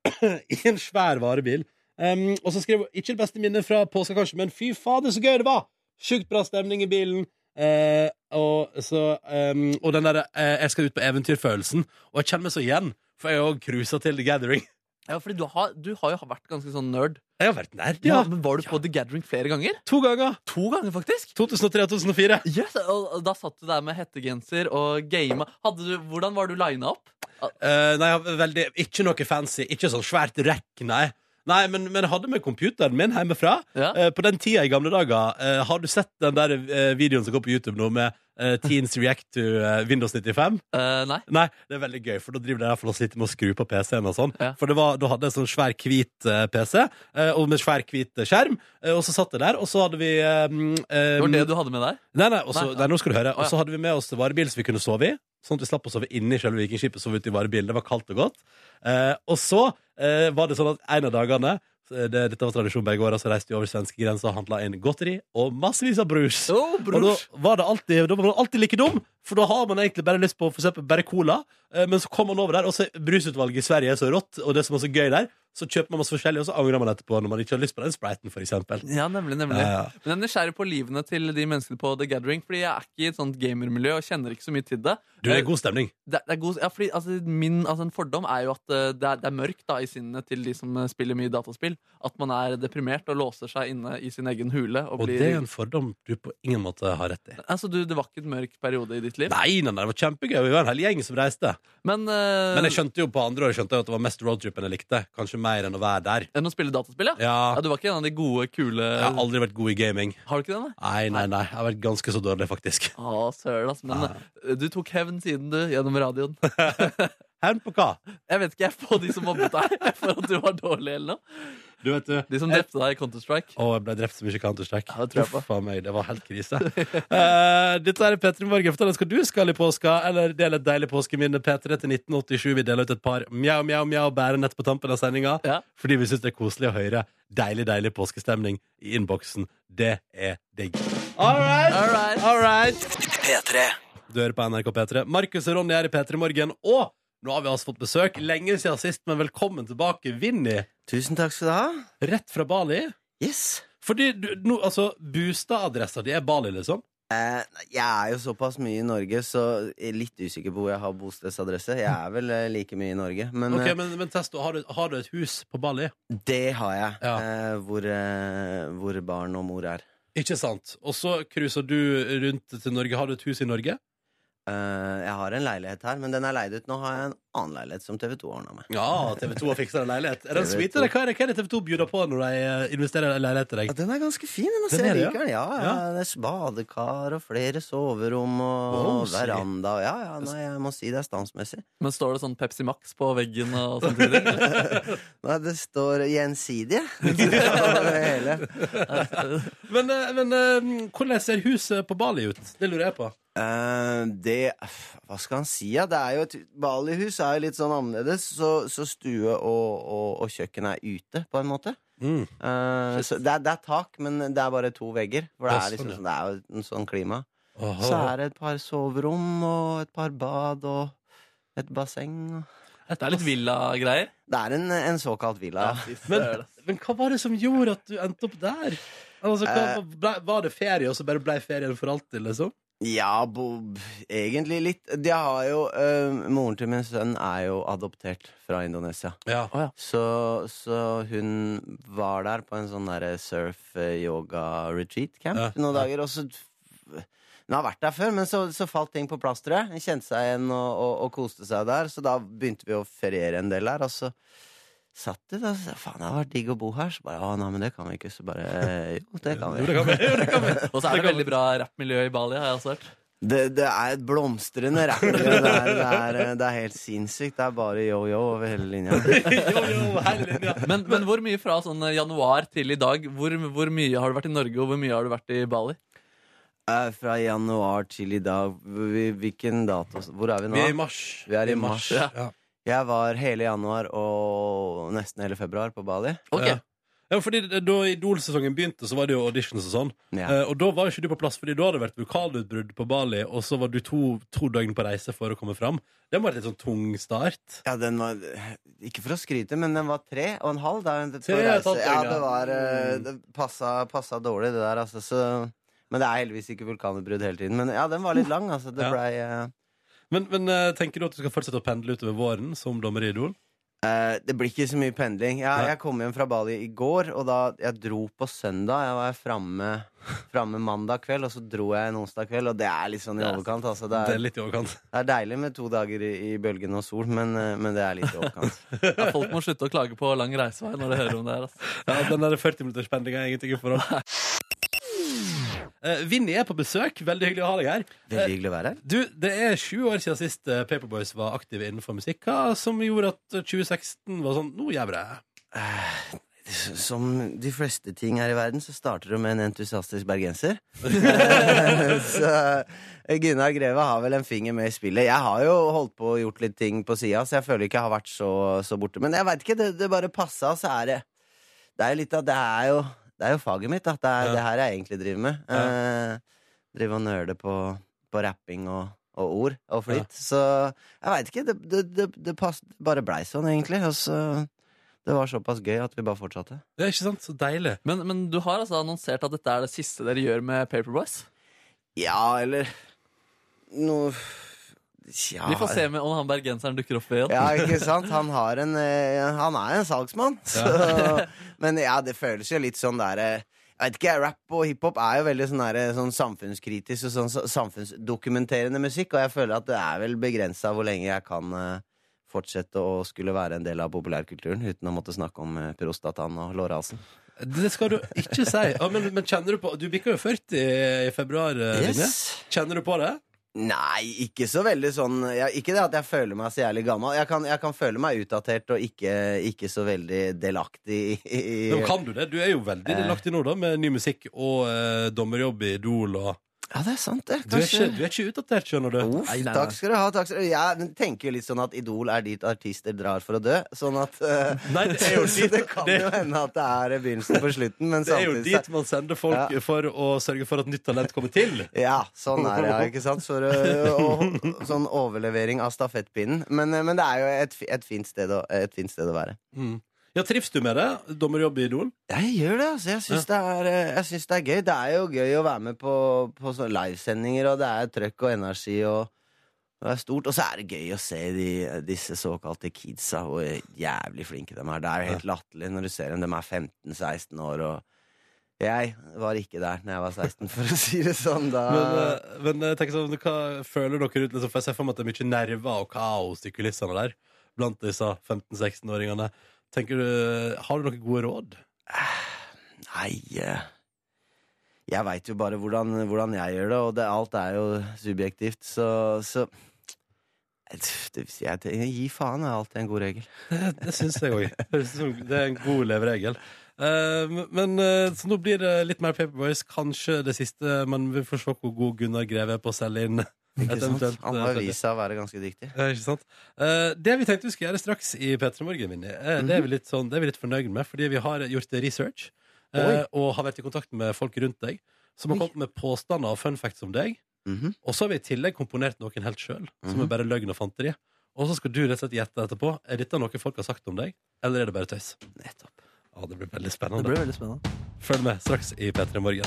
[CLEARS THROAT] i en svær varebil. Em, og så skriver hun ikke det beste minnet fra påska, kanskje, men fy fader, så gøy det var! Sjukt bra stemning i bilen. Eh, og, så, em, og den derre eh, 'jeg skal ut på eventyr'-følelsen. Og jeg kjenner meg så igjen, for jeg har òg cruisa til The Gathering.
Ja, fordi du har, du har jo vært ganske sånn nerd.
Jeg har vært nerd, ja.
Men var du på The Gathering flere ganger?
To ganger.
To ganger, faktisk!
2003-2004.
Yes, og og da satt du der med hettegenser og gama. Hadde du, hvordan var du lina opp?
Eh, nei, jeg var veldig, ikke noe fancy. Ikke sånn svært rekk, nei. Nei, men, men jeg hadde med computeren min hjemmefra.
Ja.
Eh, på den tida i gamle dager, eh, har du sett den der eh, videoen som går på YouTube nå med eh, Teens React to eh, Windows 95?
Eh, nei.
Nei, det er veldig gøy, for da driver de iallfall og sitter med å skru på PC-en og sånn.
Ja.
For det var, da hadde jeg en sånn svær hvit eh, PC, eh, og med svær hvit eh, skjerm, eh, og så satt jeg der, og så hadde vi eh, mm, eh,
Det var det du hadde med deg?
Nei, nei, også,
Nei.
nei, nå skal du høre.
Å, ja.
Og så hadde vi med oss varebil som vi kunne sove i. Sånn at vi slapp å sove inne i selve Vikingskipet, sove ute i varebilen. Det var kaldt og godt. Eh, og så eh, var det sånn at en av dagene eh, det, Dette var tradisjon begge år, så altså reiste vi over svenskegrensa og handla inn godteri og massevis av brus.
Oh,
Og da var, det alltid, da var man alltid like dum, for da har man egentlig bare lyst på for eksempel, bare cola. Eh, men så kommer man over der, og så brusutvalget i Sverige er så rått, og det som er så gøy der, så kjøper man masse forskjellig, og så angrer man etterpå når man ikke har lyst på den spriten, for eksempel.
Ja, nemlig, nemlig.
Ja, ja.
Men jeg er nysgjerrig på livene til de menneskene på The Gathering. Fordi jeg er ikke i et sånt gamermiljø og kjenner ikke så mye til det. Eh,
Du, det er god stemning.
Det, det er god, ja, fordi, altså, min altså, en fordom er jo at eh, det er, det er mørkt da, i sinnene til de som eh, spiller mye dataspill. At man er deprimert og låser seg inne i sin egen hule.
Og
Og blir,
det er en fordom du på ingen måte har rett i.
altså, du, det var ikke en mørk periode i ditt liv.
Nei, nei, nei, det var kjempegøy. Vi var en hel gjeng som reiste.
Men, eh,
Men jeg skjønte jo på andre året skjønte jeg at det var mest roadtrip enn jeg likte. Kanskje mer enn å være der.
enn å spille dataspill, ja.
Ja,
ja. Du var ikke en av de gode, kule
Jeg har aldri vært god i gaming.
Har du ikke det? nei?
Nei, nei, nei. Jeg har vært ganske så dårlig, faktisk.
Å, søren, ass. Men eh, du tok hevn siden, du, gjennom radioen. [LAUGHS]
Hevn på hva?
Jeg vet ikke, jeg på de som mobbet deg [LAUGHS] for at du var dårlig eller noe.
Du vet eh, du.
De som drepte deg i Counter-Strike.
Å, jeg ble drept så mye i Counter-Strike.
Ja, det tror jeg på.
Uff, faen meg, det var helt krise. Eh, dette er P3 Morgen. Fortell oss hva du skal i påska, eller del et deilig påskeminne. P3 til 1987. Vi deler ut et par mjau, mjau, mjau bærenett på tampen av sendinga.
Ja.
Fordi vi syns det er koselig å høre deilig, deilig påskestemning i innboksen. Det er digg. All right.
All right.
All right. Du hører på NRK P3. Markus og Ronny er i P3 Morgen. Og nå har vi altså fått besøk. Lenge siden sist, men velkommen tilbake, Vinni.
Tusen takk skal du ha.
Rett fra Bali.
Yes.
Fordi du, nå, altså, Bustadadressa di er Bali, liksom?
Eh, jeg er jo såpass mye i Norge, så jeg er litt usikker på hvor jeg har bostedsadresse. Jeg er vel eh, like mye i Norge, men
Ok,
eh,
men, men test, da. har du, har du et hus på Bali?
det har jeg.
Ja.
Eh, hvor, eh, hvor barn og mor er.
Ikke sant? Og så cruiser du rundt til Norge. Har du et hus i Norge?
Eh, jeg har en leilighet her, men den er leid ut. Nå har jeg en annen leilighet som TV2 ordna meg.
Ja, TV2 har fiksa en leilighet. Er den
TV2.
sweet, eller hva er det, hva er det TV2 bjuder på når de eh, investerer i en leilighet til
Ja,
deg?
den er ganske fin. Den, altså,
Den er
jeg
det,
liker den. Ja, ja.
Ja.
Det er badekar og flere soverom og
Wow, sier.
veranda. Ja, ja, nei, jeg må si det er standsmessig.
Men står det sånn Pepsi Max på veggen og sånn til det?
Nei, det står gjensidige.
[LAUGHS]
Det står over det hele.
Men, eh, men eh, hvordan ser huset på Bali ut? Det lurer jeg på.
Eh, det Hva skal han si, ja? Det er jo et Balihus er jo litt sånn annerledes, så, så stue og, og, og kjøkken er ute, på en måte.
Mm.
Eh, så det, er, det er tak, men det er bare to vegger. For det
Ja,
er liksom
sånn,
sånn, det er jo en sånn klima.
Aha.
Så er det et par soverom og et par bad og et basseng. og-
[LAUGHS] Det er litt villa-greier.
Det er en, en såkalt villa. Ja.
men, men hva var det som gjorde at du endte opp der? Altså, hva,
Eh.
ble, var det ferie, og så bare ble ferien for alltid, liksom?
Ja, Bob, egentlig litt. De har jo, eh, moren til min sønn er jo adoptert fra Indonesia.
Ja.
Så, så hun var der på en sånn derre surf-yoga-retreat-camp
Ja,
noen dager. Og så Hun har vært der før, men så, så falt ting på plass, tror jeg. Hun kjente seg igjen og, og, og koste seg der, så da begynte vi å feriere en del der. Og så satt de der og sa faen, det hadde vært digg å bo her. Så bare å nei, men det kan vi ikke. Så bare "Eh, jo, det kan vi.
Jo, det kan vi. Jo, det kan vi.
Og så er det veldig bra rappmiljø i Bali, har jeg også hørt.
[LAUGHS] Det, det er et blomstrende rappmiljø. Det, er- det, er- det er helt sinnssykt. Det er bare yo-yo over hele linja.
Jo, jo, hele linja.
Men, men hvor mye fra sånn januar til i dag? Hvor, hvor mye har du vært i Norge, og hvor mye har du vært i Bali?
Eh, Fra januar til i dag Hvi- Hvilken dato? Hvor er vi nå?
Vi er i
da?
mars.
Vi er i mars.
Ja.
Jeg var hele januar og nesten hele februar på Bali.
Ok,
Ja. Ja, fordi det- da Idol-sesongen begynte, så var det jo auditions og sånn.
Ja.
Eh, og da var jo ikke du på plass, fordi da hadde det vært vulkanutbrudd på Bali, og så var du to, to døgn på reise for å komme fram. Det må ha vært litt sånn tung start.
Ja, den var Ikke for å skryte, men den var tre og en halv. Da, på
Tre og et
reise.
halvt døgn, ja.
ja, det var eh,
Mm.
Det passa, passa dårlig, det der, altså. Så, men det er heldigvis ikke vulkanutbrudd hele tiden. Men ja, den var litt lang, altså. Det
Ja.
blei eh,
Men, men eh, tenker du at du skal fortsette å pendle utover våren som dommer i Idol?
Eh, det blir ikke så mye pendling. Jeg,
Nei.
jeg kom hjem fra Bali i går, og da jeg dro på søndag. Jeg var framme, framme mandag kveld, og så dro jeg en onsdag kveld, og det er litt sånn i
Det er
overkant. Altså, det,
Det er
er,
litt i overkant. [LAUGHS]
det er deilig med to dager i, i bølgen og sol, men, eh, men det er litt i
[LAUGHS]
overkant.
Ja, folk må slutte å klage på lang reisevei når de hører om det her. Altså.
Ja, den der 40-minutterspendinga er ingenting i forhold. Eh, Vinni er på besøk. Veldig hyggelig å ha deg her.
Veldig hyggelig å være her.
Du, Det er sju år siden sist eh, Paperboys var aktive innenfor musikk. Hva som gjorde at 2016 var sånn Nå gjør vi det.
Som de fleste ting her i verden, så starter det med en
[LAUGHS]
entusiastisk bergenser. så eh, Gunnar Greve har vel en finger med i spillet. Jeg har jo holdt på og gjort litt ting på sida, så jeg føler ikke jeg har vært så, så borte. Men jeg veit ikke, det, det bare passa, så er det Det er jo litt av Det er jo, det er jo faget mitt, da. Det er
Ja.
det her jeg egentlig driver med.
Ja.
Eh, driver og nøler på, på rapping og, og ord og flyt. Så jeg veit ikke. Det, det, det, det pass, det bare blei sånn, egentlig. Og så Det var såpass gøy at vi bare fortsatte.
Det er ikke sant? Så deilig.
Men, men du har altså annonsert at dette er det siste dere gjør med Paperboys?
Ja, eller noe ja.
Vi får se med om han bergenseren dukker opp igjen.
Ja, ikke sant? Han, har en, eh, han er en salgsmann. Så, [LAUGHS] men ja, det føles jo litt sånn der eh, jeg vet ikke, Rap og hiphop er jo veldig sånn, der, eh, sånn samfunnskritisk og sånn sa- samfunnsdokumenterende musikk, og jeg føler at det er vel begrensa hvor lenge jeg kan eh, fortsette å skulle være en del av populærkulturen uten å måtte snakke om eh, prostataen og lårhalsen.
Det skal du ikke si. Ja, men, men kjenner du på Du bikka jo 40 i februar, eh, Vinni. Kjenner du på det?
Nei, ikke så veldig sånn ja, Ikke det at jeg føler meg så jævlig gammel. Jeg kan, jeg kan føle meg utdatert og ikke, ikke så veldig delaktig i, i
Men kan du det? Du er jo veldig
Eh.
delaktig nå, da, med ny musikk og eh, dommerjobb i Idol og
Ja, det er sant, det.
du er, ikke, du er ikke utdatert, skjønner du.
Uff,
Nei, nei, nei.
takk skal du ha. Takk skal du. Jeg tenker jo litt sånn at Idol er dit artister drar for å dø. Sånn at eh,
[LAUGHS] Nei, det er jo
[LAUGHS] Så
dit-
det kan
det-
jo hende at det er begynnelsen på slutten,
[LAUGHS]
men
Det er jo
samtidig så-
dit man sender folk for å sørge for at nytt talent kommer til.
Ja, sånn er det, ja, ikke sant? Så, ø,
[LAUGHS]
og, sånn overlevering av stafettpinnen. Men, eh, men det er jo et, fi- et, fint sted å, et fint sted å være.
Ja, Trives du med det? Dommerjobb i Idol?
Ja, Jeg gjør det, altså. Jeg syns det, er, eh, jeg syns det er gøy. Det er jo gøy å være med på, på sånne livesendinger, og det er trøkk og energi, og det er stort. Og så er det gøy å se de, disse såkalte kidsa, hvor jævlig flinke de er. Det er jo helt latterlig når du ser dem. De er 15-16 år, og jeg var ikke der når jeg var 16, for å si det sånn. Da
Men, eh, men jeg tenker sånn, hva føler dere ut? Liksom, for jeg ser for meg at det er mye nerver og kaos i kulissene der. Blant disse 15-16-åringene. Tenker du, Har du noen gode råd?
Nei eh, Jeg veit jo bare hvordan, hvordan jeg gjør det, og det, alt er jo subjektivt, så, så det vil si, jeg, tenker, Gi faen er alltid en god regel.
Det, [LAUGHS] det syns jeg òg. Det er en god leveregel. Eh, men eh, Så nå blir det litt mer Paperboys, kanskje det siste. Men vi får se hvor god Gunnar Greve er på å selge inn. et
Ikke sant?
eventuelt,
Han
eh,
har
tredje.
vist seg å være ganske dyktig.
Eh, Ikke sant? Eh, det vi tenkte vi skulle gjøre straks i P3 Morgen, Vinni, eh,
Mhm.
det, er vi litt sånn, det er vi litt fornøyd med, fordi vi har gjort research eh, og har vært i kontakt med folk rundt deg som har kommet med påstander og fun facts om deg.
Mhm.
Og så har vi i tillegg komponert noen helt sjøl, som
Mhm.
er bare løgn og fanteri. Og så skal du rett og slett gjette etterpå. Er dette noe folk har sagt om deg, eller er det bare tøys? Nettopp. Å, det blir veldig spennende.
Det blir veldig spennende.
Følg med straks i P3 Morgen.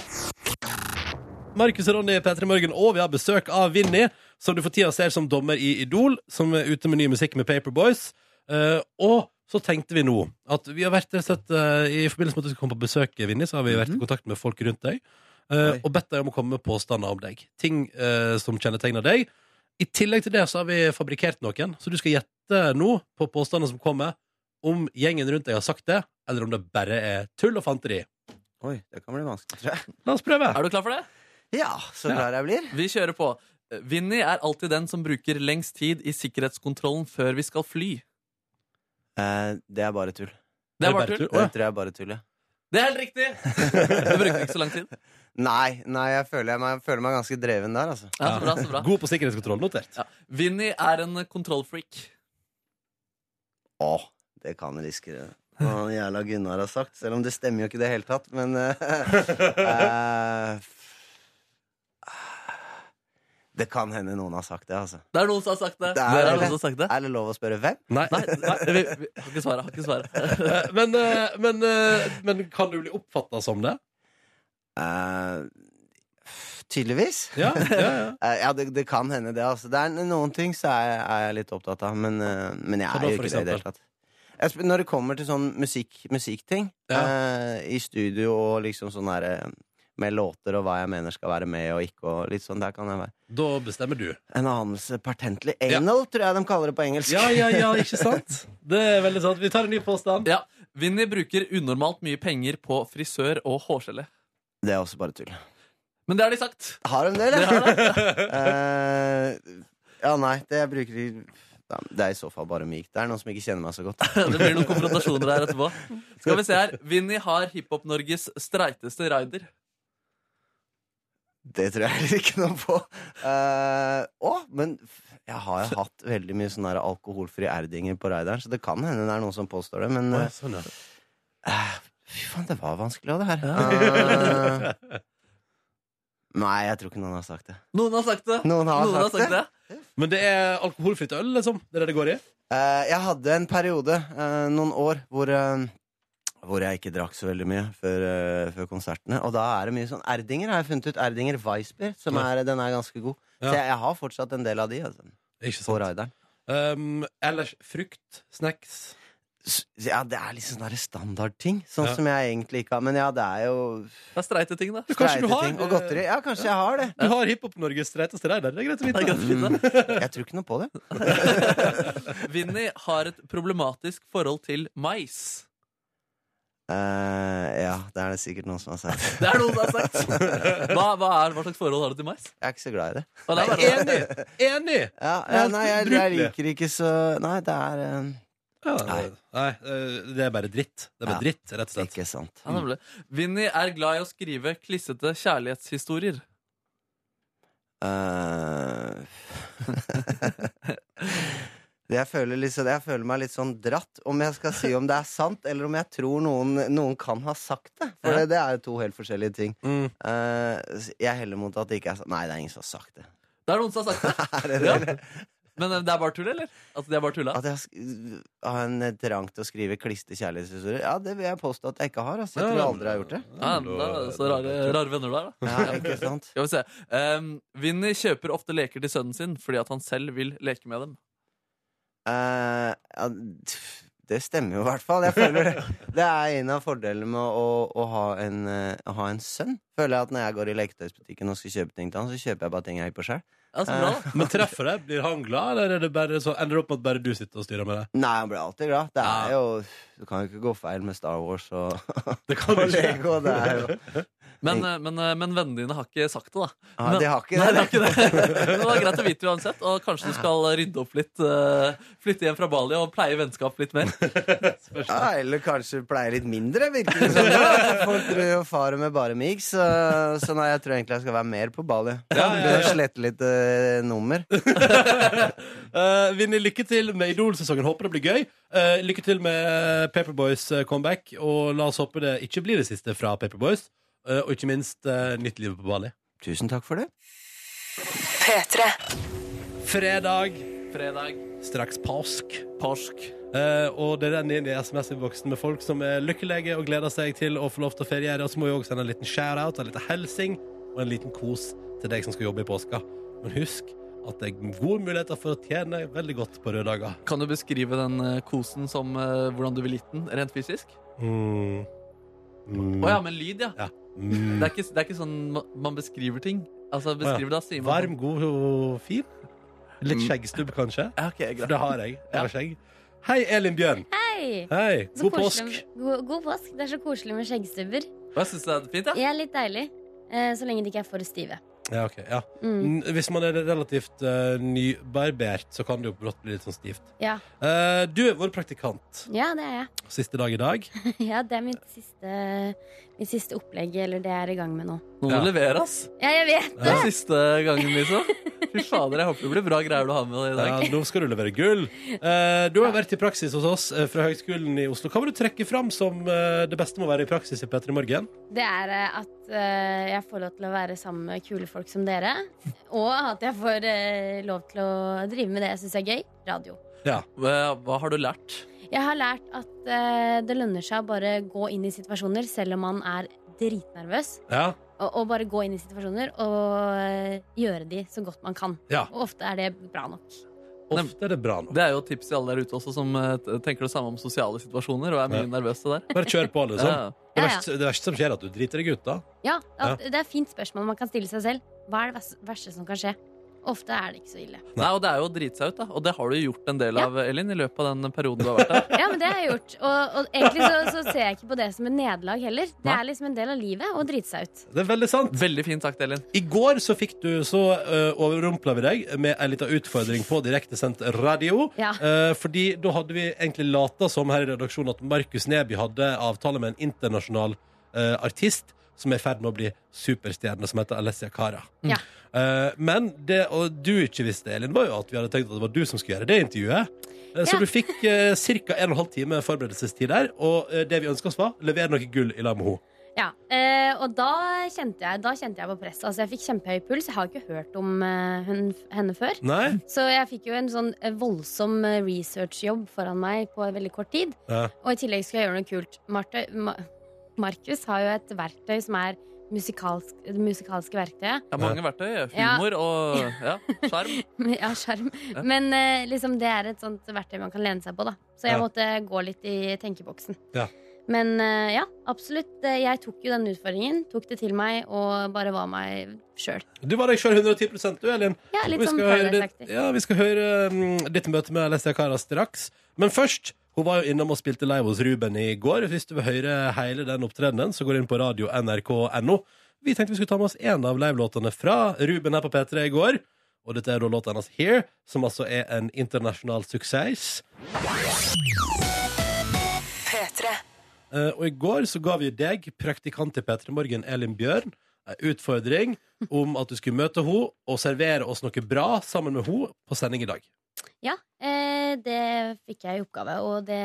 Markus og Ronny i P3 Morgen, og vi har besøk av Vinny, som du for tida ser som dommer i Idol, som er ute med ny musikk med Paperboys. Eh, og så tenkte vi nå at vi har vært rett og slett eh, I forbindelse med at du skulle komme på besøk, Vinny, så har vi vært i kontakt med folk rundt deg eh,
Oi.
og bedt deg om å komme med påstander om deg. Ting eh, som kjennetegner deg. I tillegg til det så har vi fabrikkert noen, så du skal gjette nå på påstander som kommer, om gjengen rundt deg har sagt det, eller om det bare er tull og fanteri.
Oi, det kan bli vanskelig, tror jeg.
La oss prøve.
Er du klar for det?
[LAUGHS] Ja, så
Ja.
klar jeg blir.
Vi kjører på. Vinni er alltid den som bruker lengst tid i sikkerhetskontrollen før vi skal fly.
Eh, det er bare
Det
tull.
Er det
er
bare
bare tull.
Å, ja.
Det tror jeg er bare tull, ja.
Det er helt riktig! Du brukte ikke så lang tid.
Nei, nei jeg, føler jeg, meg, jeg føler meg ganske dreven der, altså.
Ja, så bra, så bra.
God på sikkerhetskontroll, notert.
Ja. Vinni er en kontrollfreak.
Å, det kan riske hva han jævla Gunnar har sagt, selv om det stemmer jo ikke i det hele tatt, men eh, eh, Det kan hende noen har sagt det, altså.
Det er noen som har sagt det.
Det er
det, er
det.
noen som har sagt det.
Er det lov å spørre hvem?
Nei.
Nei, nei vi, vi har ikke svaret. Har ikke svaret.
Eh, Men, eh, men, eh, men kan du bli oppfatta som det?
Eh, tydeligvis.
Ja, ja, ja.
Eh, ja, det, det kan hende det. Altså. det er noen ting så er, jeg- er jeg litt opptatt av, men, eh, men jeg
Hva
er
da,
jo
for
ikke det i det hele
eksempel?
tatt. Jeg sp- Når det kommer til sånn musikk, musikkting
Ja.
eh, i studio og liksom sånn derre med låter og hva jeg mener skal være med og ikke og litt sånn, der kan jeg være.
[LAUGHS] Da bestemmer du.
En anelse patentlig
Ja.
anal, tror jeg de kaller det på engelsk.
Ja, ja, ja, ikke sant? Det er veldig sant. Vi tar en ny påstand.
Ja. Vinni bruker unormalt mye penger på frisør og hårgelé.
[LAUGHS] Det er også bare tull.
Men det har de sagt.
Har de det,
Det har
eller? [LAUGHS]
de.
Eh, ja, nei, det jeg bruker i Det er i så fall bare mykt. Det er noen som ikke kjenner meg så godt.
Det blir noen konfrontasjoner her etterpå. Skal vi se her. Vinni har Hiphop-Norges streiteste rider.
Det tror jeg [LAUGHS] heller ikke noe på. Eh, å, men f- jeg har jo hatt veldig mye sånne der alkoholfri erdinger på rideren, så det kan hende det er noen som påstår det, men
Å,
eh,
ja, sånn, ja.
eh, Fy faen, det var vanskelig òg, det her. Eh,
Ah.
[LAUGHS] nei, jeg tror ikke noen har sagt det.
Noen har sagt det.
Noen har sagt det?
Men det er alkoholfritt øl, liksom? Det er det det går i?
Eh, jeg hadde en periode, eh, noen år, hvor eh, hvor jeg ikke drakk så veldig mye før, eh, før konsertene. Og da er det mye sånn Erdinger har jeg funnet ut. Erdinger Weissbier, som
Ja.
er, den er ganske god.
Ja.
Så jeg, jeg har fortsatt en del av de altså,
Ikke
på
sant.
rideren.
Um, ellers frukt, snacks
S- Ja, det er liksom sånne standardting. Sånn
Ja.
som jeg egentlig ikke har. Men ja, det er jo
Det er streite ting, da.
kanskje du
streite
har,
ting. Og
eh,
godteri. Ja, kanskje jeg har det.
Du har Hiphop-Norges streiteste rider. Det er greit å
Det er
vite.
greit å vite.
Jeg tror ikke noe på det.
Vinni har et problematisk forhold til mais.
Eh, ja, det er det sikkert noen som har sagt.
Det er noen som har sagt. Hva, hva, er, hva slags forhold har du til mais?
Jeg er ikke så glad i det.
Og det er bare-
Enig! Enig!
Ja,
Det
ja,
er
nei, jeg, jeg
brukelig.
liker ikke så Nei, det er eh,
Ja, nei.
Nei.
eh, det er bare dritt. Det er bare
Ja.
dritt, rett og slett.
ikke sant.
Ja, nemlig. Vinni er glad i å skrive klissete kjærlighetshistorier.
Eh, [LAUGHS] Det jeg, føler liksom, jeg føler meg litt sånn dratt om jeg skal si om det er sant, eller om jeg tror noen, noen kan ha sagt det. For
Ja.
det, det er jo to helt forskjellige ting.
Mm.
Eh, jeg heller mot at det ikke er sant. Nei, det er ingen som har sagt det.
Det er noen som har sagt det.
[LAUGHS] Er det det?
Ja. Men eh, det er bare tull, eller? At de er bare tulla?
At jeg har sk- har en trang til å skrive kliste kjærlighetshistorier? Ja, det vil jeg påstå at jeg ikke har. Altså. Jeg tror jeg aldri har gjort
[LAUGHS]
det.
Ja, men da er det så rare, rare venner du er, da.
Ja, ikke sant?
Skal vi se. Um, Vinni kjøper ofte leker til sønnen sin fordi at han selv vil leke med dem.
Eh, ja, tf, det stemmer jo i hvert fall. Jeg føler
[LAUGHS]
det. det er en av fordelene med å, å, ha en, eh, å ha en sønn. Føler jeg at Når jeg går i leketøysbutikken og skal kjøpe ting til han, så kjøper jeg bare ting jeg ikke på sjøl.
Ja, så bra,
Ah.
da.
Men treffer det? Blir han glad, eller er det bare, så ender det opp med at bare du sitter og styrer med det?
Nei, han blir alltid glad. Det
Ja.
er jo, du kan jo ikke gå feil med Star Wars og,
[LAUGHS] Det kan du
og
ikke.
Lego. Det er
[LAUGHS]
jo,
Men, eh, men, eh, men vennene dine har ikke sagt det, da.
ja, Ah, de har ikke
Nei,
det.
det er ikke det. Men det var greit å vite uansett. Og kanskje du skal rydde opp litt. eh, flytte hjem fra Bali og pleie vennskap litt mer.
Ja,
sånn.
eller kanskje pleier litt mindre, virker det som. Ja, Folk tror jo faren med bare mig, så, så nei, jeg tror egentlig jeg skal være mer på Bali.
Ja,
Ja,
ja, ja.
Slette litt eh, nummer.
Eh, Vinni, lykke til med Idol-sesongen. Håper det blir gøy. Eh, lykke til med Paperboys eh, comeback, og la oss håpe det ikke blir det siste fra Paperboys. Eh, og ikke minst eh, nytt liv på Bali.
Tusen takk for det.
P3.
Fredag,
Fredag,
straks påsk.
påsk.
Eh, og det renner inn i SMS-innboksen med folk som er lykkelige og gleder seg til å få lov til å feriere. Og så må vi også sende en liten shout-out, en liten helsing og en liten kos til deg som skal jobbe i påska. Men husk at det er gode muligheter for å tjene veldig godt på røde dager.
Kan du beskrive den eh, kosen som eh, hvordan du ville gitt den, rent fysisk? Å
Mm. Mm.
ja, med lyd, ja.
Ja. Mm.
Det er ikke, det er ikke sånn ma- man beskriver ting. Altså, beskriver det, da sier man
Varm, god og fin. Litt skjeggstubb, kanskje.
sånn. Ja, ok,
For
greit.
det har jeg. Jeg har skjegg. Hei, Elin Bjørn.
Hei!
Hei.
Så
God
koselig
påsk.
med- God, god påsk. Det er så koselig med skjeggstubber.
Og jeg syns det er fint, ja.
Jeg er litt deilig, eh, så lenge de ikke er for stive.
Ja, ok, ja.
Mm.
N- Hvis man er relativt eh, nybarbert, så kan det jo brått bli litt sånn stivt.
Ja.
Eh, du er vår praktikant.
[LAUGHS] ja, det er
Siste dag i dag.
jeg. Ja, Det er mitt siste Mitt siste opplegg, eller det jeg er i gang med nå.
Noen
Ja.
må levere, ass.
Ja, jeg vet
Det er siste gangen, liksom. Fy fader, jeg håper det blir bra greier du har med deg i dag.
Ja, nå skal du levere gull. Eh, du har vært i praksis hos oss eh, fra Høgskolen i Oslo. Hva vil du trekke fram som eh, det beste med å være i praksis i P3 Morgen?
Det er eh, at eh, jeg får lov til å være sammen med kule folk som dere. Og at jeg får eh, lov til å drive med det jeg syns er gøy radio.
Hva, hva har du lært?
Jeg har lært at eh, det lønner seg å bare gå inn i situasjoner selv om man er dritnervøs.
Ja,
Og, og bare gå inn i situasjoner og eh, gjøre de så godt man kan.
Ja.
Og ofte er det bra nok.
Ofte er det bra nå.
Det er jo et tips til alle der ute også som eh, t- tenker det samme om sosiale situasjoner og er mye nervøse der.
Bare kjør på,
Ja.
liksom. Det
Ja, ja.
verste, det verste som skjer, er at du driter deg ut, da.
Ja, det er, ofte, det er et fint spørsmål man kan stille seg selv. Hva er det vers- verste som kan skje? Ofte er det ikke så ille.
Nei, og det er jo å drite seg ut, da. Og det har du jo gjort en del
Ja.
av, Elin, i løpet av den perioden du har vært
[LAUGHS]
her.
Ja, men det har jeg gjort. Og, og egentlig så, så ser jeg ikke på det som et nederlag heller. Det
Nei.
er liksom en del av livet å drite seg ut.
Det er veldig sant.
Veldig fint sagt, Elin.
I går så fikk du så uh, overrumpla vi deg med en liten utfordring på direktesendt radio.
Ja.
Eh, fordi da hadde vi egentlig lata som her i redaksjonen at Markus Neby hadde avtale med en internasjonal eh, artist som er i ferd med å bli superstjerne, som heter Alessia Cara.
Ja.
Eh, men det og du ikke visste, Elin, var jo at vi hadde tenkt at det var du som skulle gjøre det intervjuet. Eh, Så
Ja.
du fikk uh, ca. 1 12 time forberedelsestid der, og eh, det vi ønska oss, var levere noe gull i lag med henne.
Ja, eh, og da kjente, jeg, da kjente jeg på presset. Altså, jeg fikk kjempehøy puls. Jeg har ikke hørt om eh, hun, henne før.
Nei?
Så jeg fikk jo en sånn eh, voldsom eh, researchjobb foran meg på veldig kort tid.
Ja.
Og i tillegg skal jeg gjøre noe kult. Marte, Ma Markus har jo et verktøy som er musikalsk, det musikalske verktøyet. [LAUGHS]
Ja, mange verktøy. eh, Humor og ja, sjarm.
Ja, skjerm. Men eh, liksom, det er et sånt verktøy man kan lene seg på, da. Så jeg
Ja.
måtte gå litt i tenkeboksen.
Ja.
Men eh, ja, absolutt. eh, Jeg tok jo den utfordringen. Tok det til meg og bare var meg sjøl.
Du var deg sjøl 110 du, Elin.
Ja, litt
Vi
sånn
skal, høre ditt,
Paradise-aktig.
ja, vi skal høre mm, ditt møte med Alessia Cara straks. Men først, hun var jo innom og spilte live hos Ruben i går. Hvis du vil høre hele den opptredenen, så går du inn på radio nrk.no. Vi tenkte vi skulle ta med oss en av livelåtene fra Ruben her på P3 i går. Og dette er da låta hennes Here, som altså er en internasjonal suksess.
P3.
Eh, og i går så ga vi deg, praktikant i P3 Morgen, Elin Bjørn, en utfordring om at du skulle møte henne og servere oss noe bra sammen med henne på sending i dag.
Ja, eh, det fikk jeg i oppgave, og det,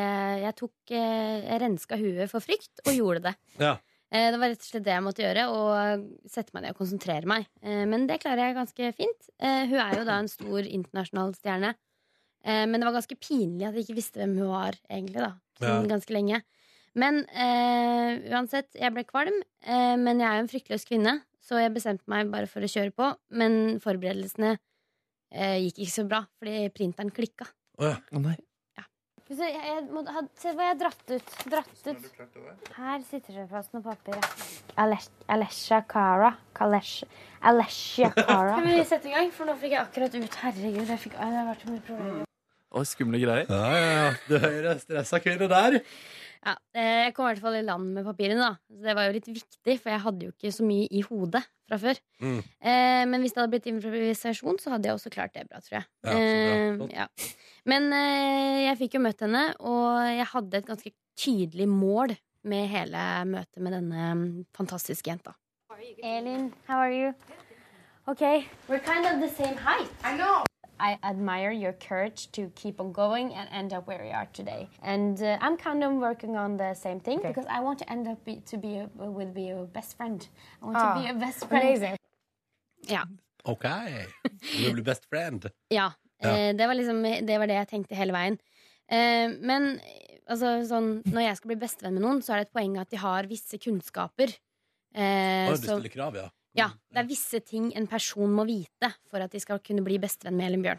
jeg tok eh, Jeg renska huet for frykt og gjorde det.
Ja.
Eh, det var rett og slett det jeg måtte gjøre, og sette meg ned og konsentrere meg. Eh, men det klarer jeg ganske fint. Eh, hun er jo da en stor internasjonal stjerne. Eh, men det var ganske pinlig at jeg ikke visste hvem hun var, egentlig, da. Sånn ganske lenge. Men eh, uansett, jeg ble kvalm, eh, men jeg er jo en fryktløs kvinne, så jeg bestemte meg bare for å kjøre på. Men forberedelsene eh, gikk ikke så bra, fordi printeren klikka.
Å, nei.
Skal vi se, jeg, jeg må, ha, se hva jeg har dratt ut. Dratt ut. Her sitter det fast noe papir. Alesha Cara. Alesha Cara. Skal vi sette i gang? For nå fikk jeg akkurat ut. Herregud, jeg fikk, det har vært så mye problemer.
Oi, skumle greier.
Ja, ja, ja. Du hører stressa kvinne der.
Ja, eh, jeg kom i hvert fall i land med papirene, da. Så det var jo litt viktig, for jeg hadde jo ikke så mye i hodet fra før.
Mm.
Eh, men hvis det hadde blitt improvisasjon, så hadde jeg også klart det bra, tror jeg.
Ja, så bra.
Eh,
Flott.
ja. Men eh, jeg fikk jo møtt henne, og jeg hadde et ganske tydelig mål med hele møtet med denne mm, fantastiske jenta. Elin, how are you? Okay, we're kind of the same height. I know. I admire your courage to keep on going and end up where you are today. And uh, I'm kind of working on the same thing because I want to end up be, to be a, with be your best friend. I want to be your best friend. Amazing. Ja.
OK. Du blir best friend.
Ja. eh, Det, var liksom, det var det jeg tenkte hele veien. Eh, Men eh, altså, sånn, når jeg skal bli bestevenn med noen, så er det et poeng at de har visse kunnskaper. eh,
Å, du
som-
stiller krav, Mm, ja.
ja, det er visse ting en person må vite for at de skal kunne bli bestevenn med Elin Bjørn.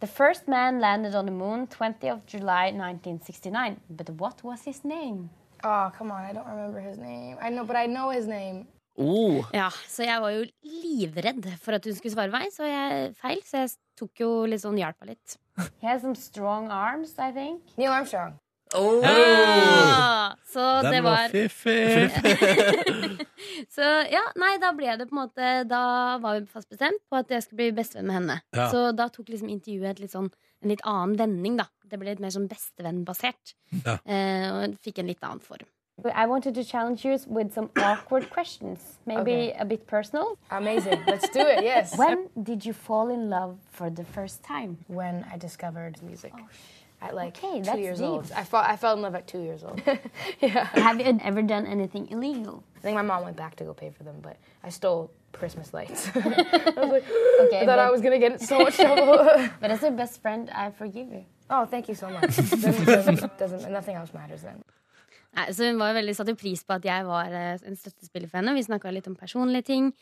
The first man landed on the moon 20 of July 1969. But what was his name?
Oh, come on. I don't remember his name. I know, but I know his name.
Oh,
Ja, så jeg var jo livredd for at hun skulle svare meg, så jeg feil, så jeg tok jo litt sånn hjelpa litt. He has some strong arms, I think.
Neil Armstrong.
Ja, så
Den
det
var
var
fiffig.
Så ja, nei, da ble det på en måte Da var vi fast bestemt på at jeg skulle bli bestevenn med henne.
Ja.
Så da tok liksom intervjuet et litt sånn, en litt annen vending, da. Det ble litt mer sånn bestevennbasert.
Ja.
Eh, og fikk en litt annen form.
I wanted to challenge you with some awkward questions, maybe
Okay.
a bit personal.
Uh,
Amazing. Let's do it, yes.
When did you fall in love for the first time?
[LAUGHS] When I discovered music. At like
Okay,
two
that's
years
deep.
old. I, fall, I fell in love at two years [LAUGHS] old.
Have you ever done anything illegal?
I think my mom went back to go pay for them, but I stole Christmas [LAUGHS] lights.
Okay,
I thought I was gonna get in so much
[LAUGHS]
trouble. [LAUGHS]
but as a best friend, I forgive you.
oh, thank you so much. Doesn't, doesn't, doesn't, nothing else matters then.
Nei, så hun var jo veldig satte pris på at jeg var eh, en støttespiller for henne. Vi snakka litt om personlige ting.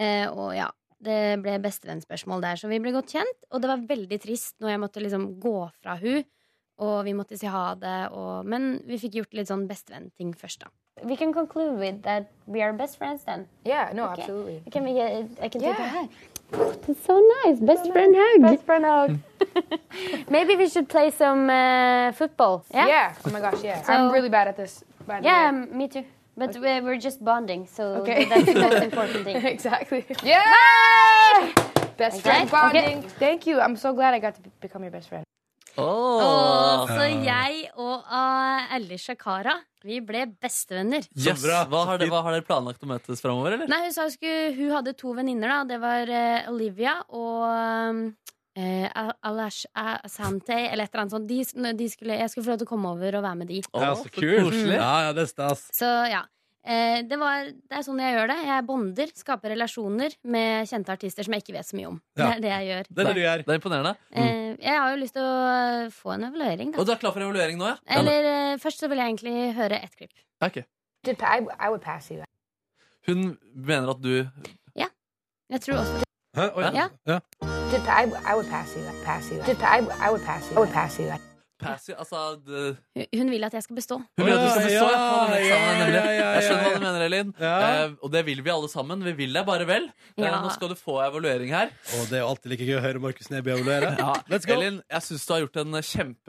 eh, Og ja, det ble bestevennspørsmål der, så vi ble godt kjent. Og det var veldig trist når jeg måtte liksom gå fra hun og vi måtte si ha det. Og, men vi fikk gjort litt sånn bestevennting først, da.
We can conclude with that we are best friends then.
Yeah, no,
Okay.
absolutely.
Can we get, I can take a
Yeah.
hug. That's so nice. Best friend hug. Best friend hug. Maybe we should play some uh, football. Yeah.
Oh my gosh, yeah.
So-
I'm really bad at this. By the
Yeah,
way.
m- me too. But we're, we're just bonding, so
Okay.
that's the most important
[LAUGHS]
thing.
exactly. Yeah. Best friend
Okay.
bonding. Thank you. I'm so glad I got to be- become your best friend.
Og
Oh.
så jeg og uh, Alicia Cara, vi ble bestevenner.
Yes. Hva, har dere, hva har dere planlagt å møtes framover, eller?
Nei, hun sa hun, skulle, hun hadde to venninner, da. Det var eh, Olivia og eh, Al- Alash Asante, eller et eller annet sånt. De, s- når de skulle, jeg skulle få lov til å komme over og være med de.
[LAUGHS] Ja, så kult. Ja, ja, det er stas.
Så ja. Eh, det, var, det er sånn jeg gjør det. Jeg bonder, skaper relasjoner med kjente artister som jeg ikke vet så mye om.
Ja.
Det er det jeg gjør.
Det er imponerende.
Mm.
Eh, jeg har jo lyst til å eh, få en evaluering,
Og
da.
du er klar for evaluering nå, ja?
Eller eh, først så vil jeg egentlig høre ett klipp.
Ok.
Did pa- I, I would pass you.
Hun mener at du
Jeg tror også
Hæ?
Oi.
Ja.
Did pa- I, I would pass you. Pass you. Did pa- I, I would pass you. I would pass you.
passer Altså det-
Hun- Hun vil at jeg skal bestå.
Hun vil at du skal bestå. ja, på den eksamen,
ja,
nemlig.
ja, ja,
Jeg skjønner
ja.
hva du mener, Elin. Eh, og det vil vi alle sammen. Vi vil deg bare vel. Eh,
Ja.
Nå skal du få evaluering her.
Og det er jo alltid like gøy å høre Markus Neby evaluere.
Ja,
Let's go.
Elin, jeg syns du har gjort en eh,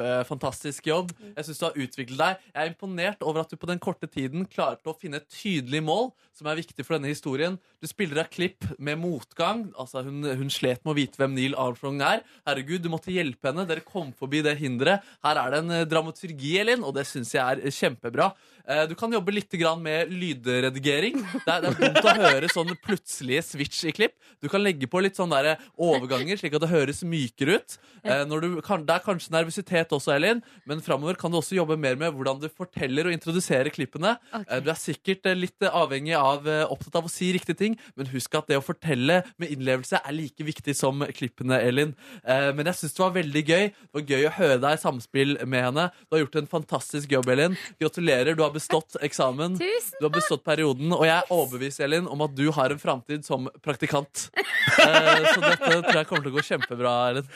kjempefantastisk jobb. Jeg synes du har utviklet deg Jeg er imponert over at du på den korte tiden klarte å finne et tydelig mål som er viktig for denne historien. Du spiller av klipp med motgang. Altså, hun, hun slet med å vite hvem Neil Armstrong er. Herregud, du måtte hjelpe henne. Dere kom forbi det hinderet. Her er det en eh, dramaturgi, Elin, og det syns jeg er eh, kjempebra. Eh, Du kan jobbe litt grann med lydredigering. Det er, det er dumt å høre sånne plutselige switch i klipp. Du kan legge på litt sånne der overganger, slik at det høres mykere ut. Eh, Når du kan, det er kanskje nervøsitet også, Elin, men framover kan du også jobbe mer med hvordan du forteller og introduserer klippene.
Ok.
Eh, Du er sikkert eh, litt eh, avhengig av eh, opptatt av å si riktige ting, men husk at det å fortelle med innlevelse er like viktig som klippene, Elin. Eh, Men jeg syns det var veldig gøy. Det var gøy å høre deg i samspill med henne. Du har gjort en fantastisk jobb, Elin. Gratulerer, du har bestått eksamen.
Tusen
Du har bestått perioden, og jeg er overbevist, Elin, om at du har en framtid som praktikant. Eh, Så dette tror jeg kommer til å gå kjempebra, Elin.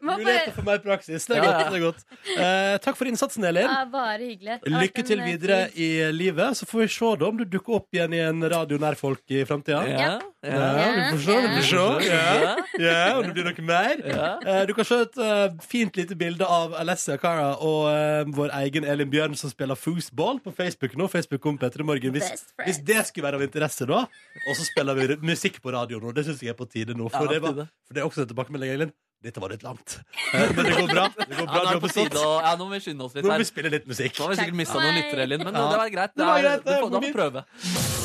Muligheter for mer praksis. Det er
Ja,
godt.
ja.
det er godt Eh, Takk for innsatsen, Elin.
Ja, bare hyggelig. Det har vært
Lykke til
en, eh,
videre
fin-
i livet. Så får vi se da om du dukker opp igjen i en radio nær folk i framtida.
Ja, ja.
vi får se. Vi får se. Ja. Ja, om det blir noe mer. Eh, Du kan se et eh, fint lite bilde av Alessia Cara og eh, vår egen Elin Bjørn som spiller foosball på Facebook nå. Facebook kom Petter i morgen hvis,
Best friend.
hvis det skulle være av interesse, da. Og så spiller vi musikk på radio nå. Det syns jeg er på tide nå.
Ja,
For, det,
på
var,
tide.
for det er også en tilbakemelding, Elin. Dette var litt langt. [LAUGHS] Eh, Men det går bra. Det går bra. Du
Ja, nå, er
har
det på tide,
bestått.
å- ja, nå må vi skynde oss litt
Nå må
her.
vi spille litt musikk.
Nå har vi sikkert mista
for
noen
meg.
lyttere, Elin, men
Ja.
det var greit.
Det var
Det er-
greit, det
du får, da
var
får
fint.
du prøve.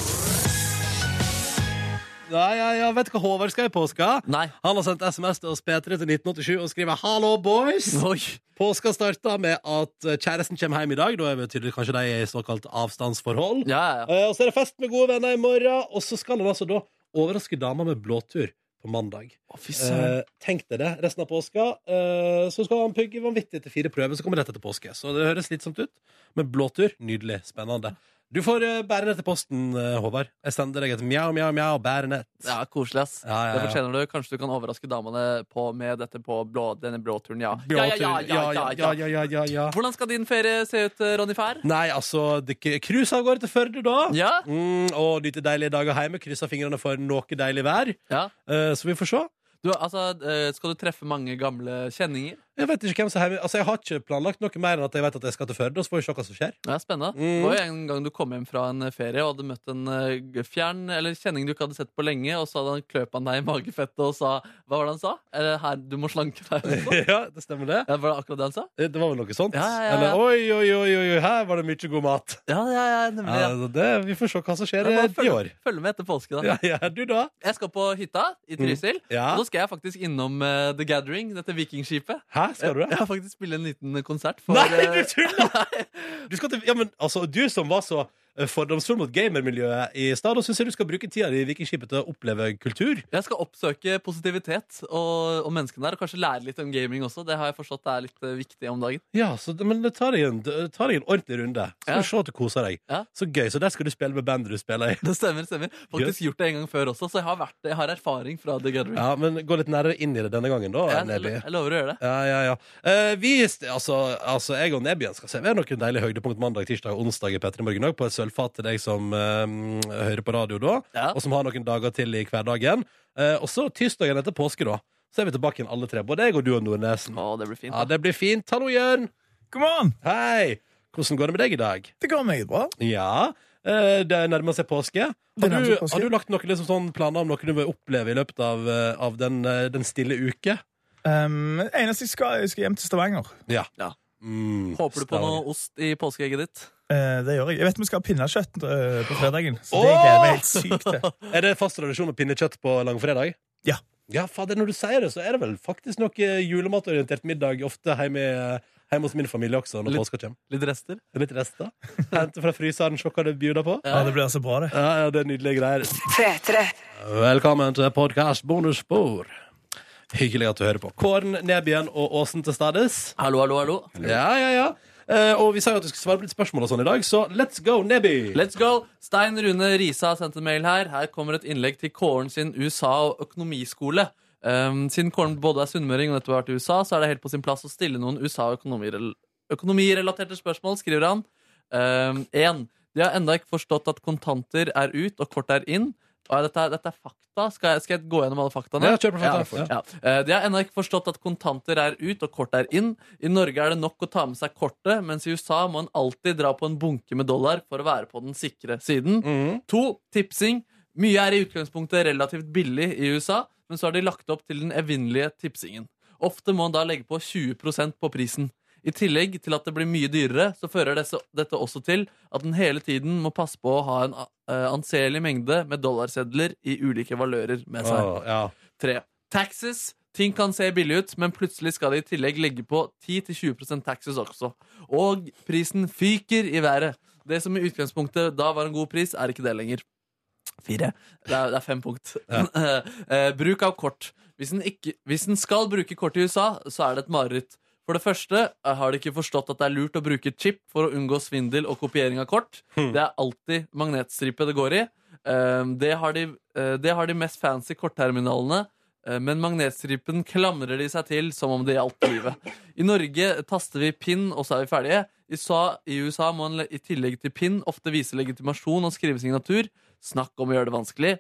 Ja, ja, ja. Vet du hva Håvard skal i påska?
Nei.
Han har sendt SMS til oss P3 til 1987 og skriver 'Hallo, boys'.
Oi.
Påska starta med at eh, kjæresten kommer hjem i dag. Da er vi tydelig kanskje de er i såkalt avstandsforhold.
Ja, ja, ja.
Eh, og så er det fest med gode venner i morgen, og så skal han altså da overraske dama med blåtur på mandag.
Å, fy søren.
Eh, tenk deg det, resten av påska. Eh, så skal han pugge vanvittig til fire prøver, så kommer rett etter påske. Så det høres slitsomt ut, men blåtur, nydelig, spennende. Du får eh, bære ned til posten, eh, Håvard. Jeg sender deg et mjau, mjau, mjau, bære ned.
Eh, Ja, koselig, ass.
Ja, ja, ja.
Det fortjener du. Kanskje du kan overraske damene på, med dette på blå, denne blåturen, ja. Ja, ja, ja,
Blåtur,
ja, ja, ja,
ja, ja, ja, ja.
Hvordan skal din ferie se ut, eh, Ronny Fær?
Nei, altså, det- cruise av gårde til Førde, da.
Ja?
Mm, og nyte deilige dager hjemme. Kryssa fingrene for noe deilig vær.
ja.
Eh, så vi får se.
Du, altså, eh, skal du treffe mange gamle kjenninger?
Jeg vet ikke hvem som er hjemme. Altså, jeg har ikke planlagt noe mer enn at jeg vet at jeg skal til Førde, og så får vi se hva som skjer.
Ja, spennende.
Mm.
Det var jo en gang du kom hjem fra en ferie og hadde møtt en eh, g- fjern eller kjenning du ikke hadde sett på lenge, og så hadde han kløp han deg i magefettet og sa Hva var det han sa? Eller her, du må slanke deg. [LAUGHS] også?»
[LAUGHS] ja, det stemmer det.
Ja, var det akkurat det han sa?
Eh, Det det var vel noe sånt?
Ja, ja, ja.
Eller oi, oi, oi, oi, oi, her var det mye god mat.
Ja, ja, ja, nemlig. Ja.
så det, vi får se hva som skjer
Ja, bare
eh, i år.
Følg med etter påske,
Ja,
da.
ja, du da?
Jeg skal på hytta i Trysil.
Mm. Ja.
Og da skal jeg faktisk innom eh, The Gathering, dette vikingskipet.
Hæ, skal du det?
Jeg har faktisk spille en liten konsert. For,
Nei,
eh,
du tuller! Du, skal til, ja, men, altså, du som var så eh, fordomsfull mot gamermiljøet i stad, da syns jeg du skal bruke tida di i Vikingskipet til å oppleve kultur.
Jeg skal oppsøke positivitet og, og menneskene der, og kanskje lære litt om gaming også. Det har jeg forstått er litt eh, viktig om dagen. [LAUGHS]
Ja, så, men eh, ta deg en, ta deg en ordentlig runde. Så skal du se at du koser deg. Så gøy. Så der skal du spille med bandet du spiller i.
Det stemmer, det stemmer. Faktisk gjort det en gang før også, så jeg har, vært, jeg har erfaring fra The Gathering.
Ja, men gå litt nærmere inn i det denne gangen, da.
Jeg,
Nebby.
jeg lover å gjøre det.
Ja, ja, ja. Eh, vi, altså, altså, jeg og Nebyen skal servere noen deilige høydepunkt mandag, tirsdag og onsdag i Petter i morgen òg, på et sølvfat til deg som eh, hører på radio da, og som har noen dager til i hverdagen. Eh, og så tirsdagen etter påske, da. Så er vi tilbake igjen alle tre. Både jeg og du og Nordnesen.
Å, det blir fint.
Ja, det blir fint. Hallo, Jørn. Hei. Hvordan går det med deg i dag?
Det går meget bra.
Ja. eh, det nærmer seg påske. Har
nærmer
du,
seg påske.
har du lagt noen liksom, sånn planer om noe du vil oppleve i løpet av, eh, av den, eh, den stille uke?
Um, eneste jeg skal, jeg skal hjem til Stavanger.
Ja. Mm,
Håper du på noe ost i påskeegget ditt?
Eh, det gjør jeg. Jeg vet vi skal ha pinnekjøtt eh, på fredagen. Så det gleder jeg meg helt sykt til.
Er det fast tradisjon med pinnekjøtt på langfredag?
Ja.
Ja, fader, når du sier det, så er det vel faktisk noe julematorientert middag ofte hjemme, hjemme hos min familie også når
Litt-
påska kommer.
Litt rester?
Litt rester. Hente fra fryseren, se hva det byr deg på.
Ja, det blir så bra, det.
Ja, ja, det er nydelige greier.
P3.
Velkommen til podkast bonusspor. Hyggelig at du hører på. Kåren Nebyen og Åsen til stades.
Hallo, hallo, hallo.
Ja, ja, ja. Eh, og vi sa jo at du skulle svare på litt spørsmål og sånn i dag, så let's go, Neby!
Let's go! Stein Rune Risa har sendt en mail her. Her kommer et innlegg til Kåren sin USA- og økonomiskole. Um, siden Kåren både er sunnmøring og nettopp har vært i USA, så er det helt på sin plass å stille noen USA- og økonomirel- økonomirelaterte spørsmål, skriver han. Um, 1. De har enda ikke forstått at kontanter er ut og kort er inn. Og dette, er- dette er fakta. Skal jeg, skal jeg gå gjennom alle faktaene?
Ja, kjør på fakta.
Ja, ja. Eh, De har ennå ikke forstått at kontanter er ut og kort er inn. I Norge er det nok å ta med seg kortet, mens i USA må en alltid dra på en bunke med dollar for å være på den sikre siden.
mm.
To, tipsing. Mye er i utgangspunktet relativt billig i USA, men så har de lagt opp til den evinnelige tipsingen. Ofte må en da legge på 20 på prisen. I tillegg til at det blir mye dyrere, så fører desse- dette også til at en hele tiden må passe på å ha en eh, anselig mengde med dollarsedler i ulike valører med seg.
Åh, ja.
Tre. Taxes. Ting kan se billig ut, men plutselig skal de i tillegg legge på 10-20 taxes også. Og prisen fyker i været. Det som i utgangspunktet da var en god pris, er ikke det lenger. Fire. Det er, det er fem punkt. [LAUGHS] Eh, bruk av kort. Hvis en, ikke, hvis en skal bruke kort i USA, så er det et mareritt. For det første eh, har de ikke forstått at det er lurt å bruke chip for å unngå svindel og kopiering av kort. Det er alltid magnetstripe det går i. Eh, det, har de, eh, det har de mest fancy kortterminalene. eh, Men magnetstripen klamrer de seg til som om det gjaldt livet. I Norge taster vi pin, og så er vi ferdige. I USA, I USA må en le- i tillegg til pin ofte vise legitimasjon og skrive signatur. Snakk om å gjøre det vanskelig.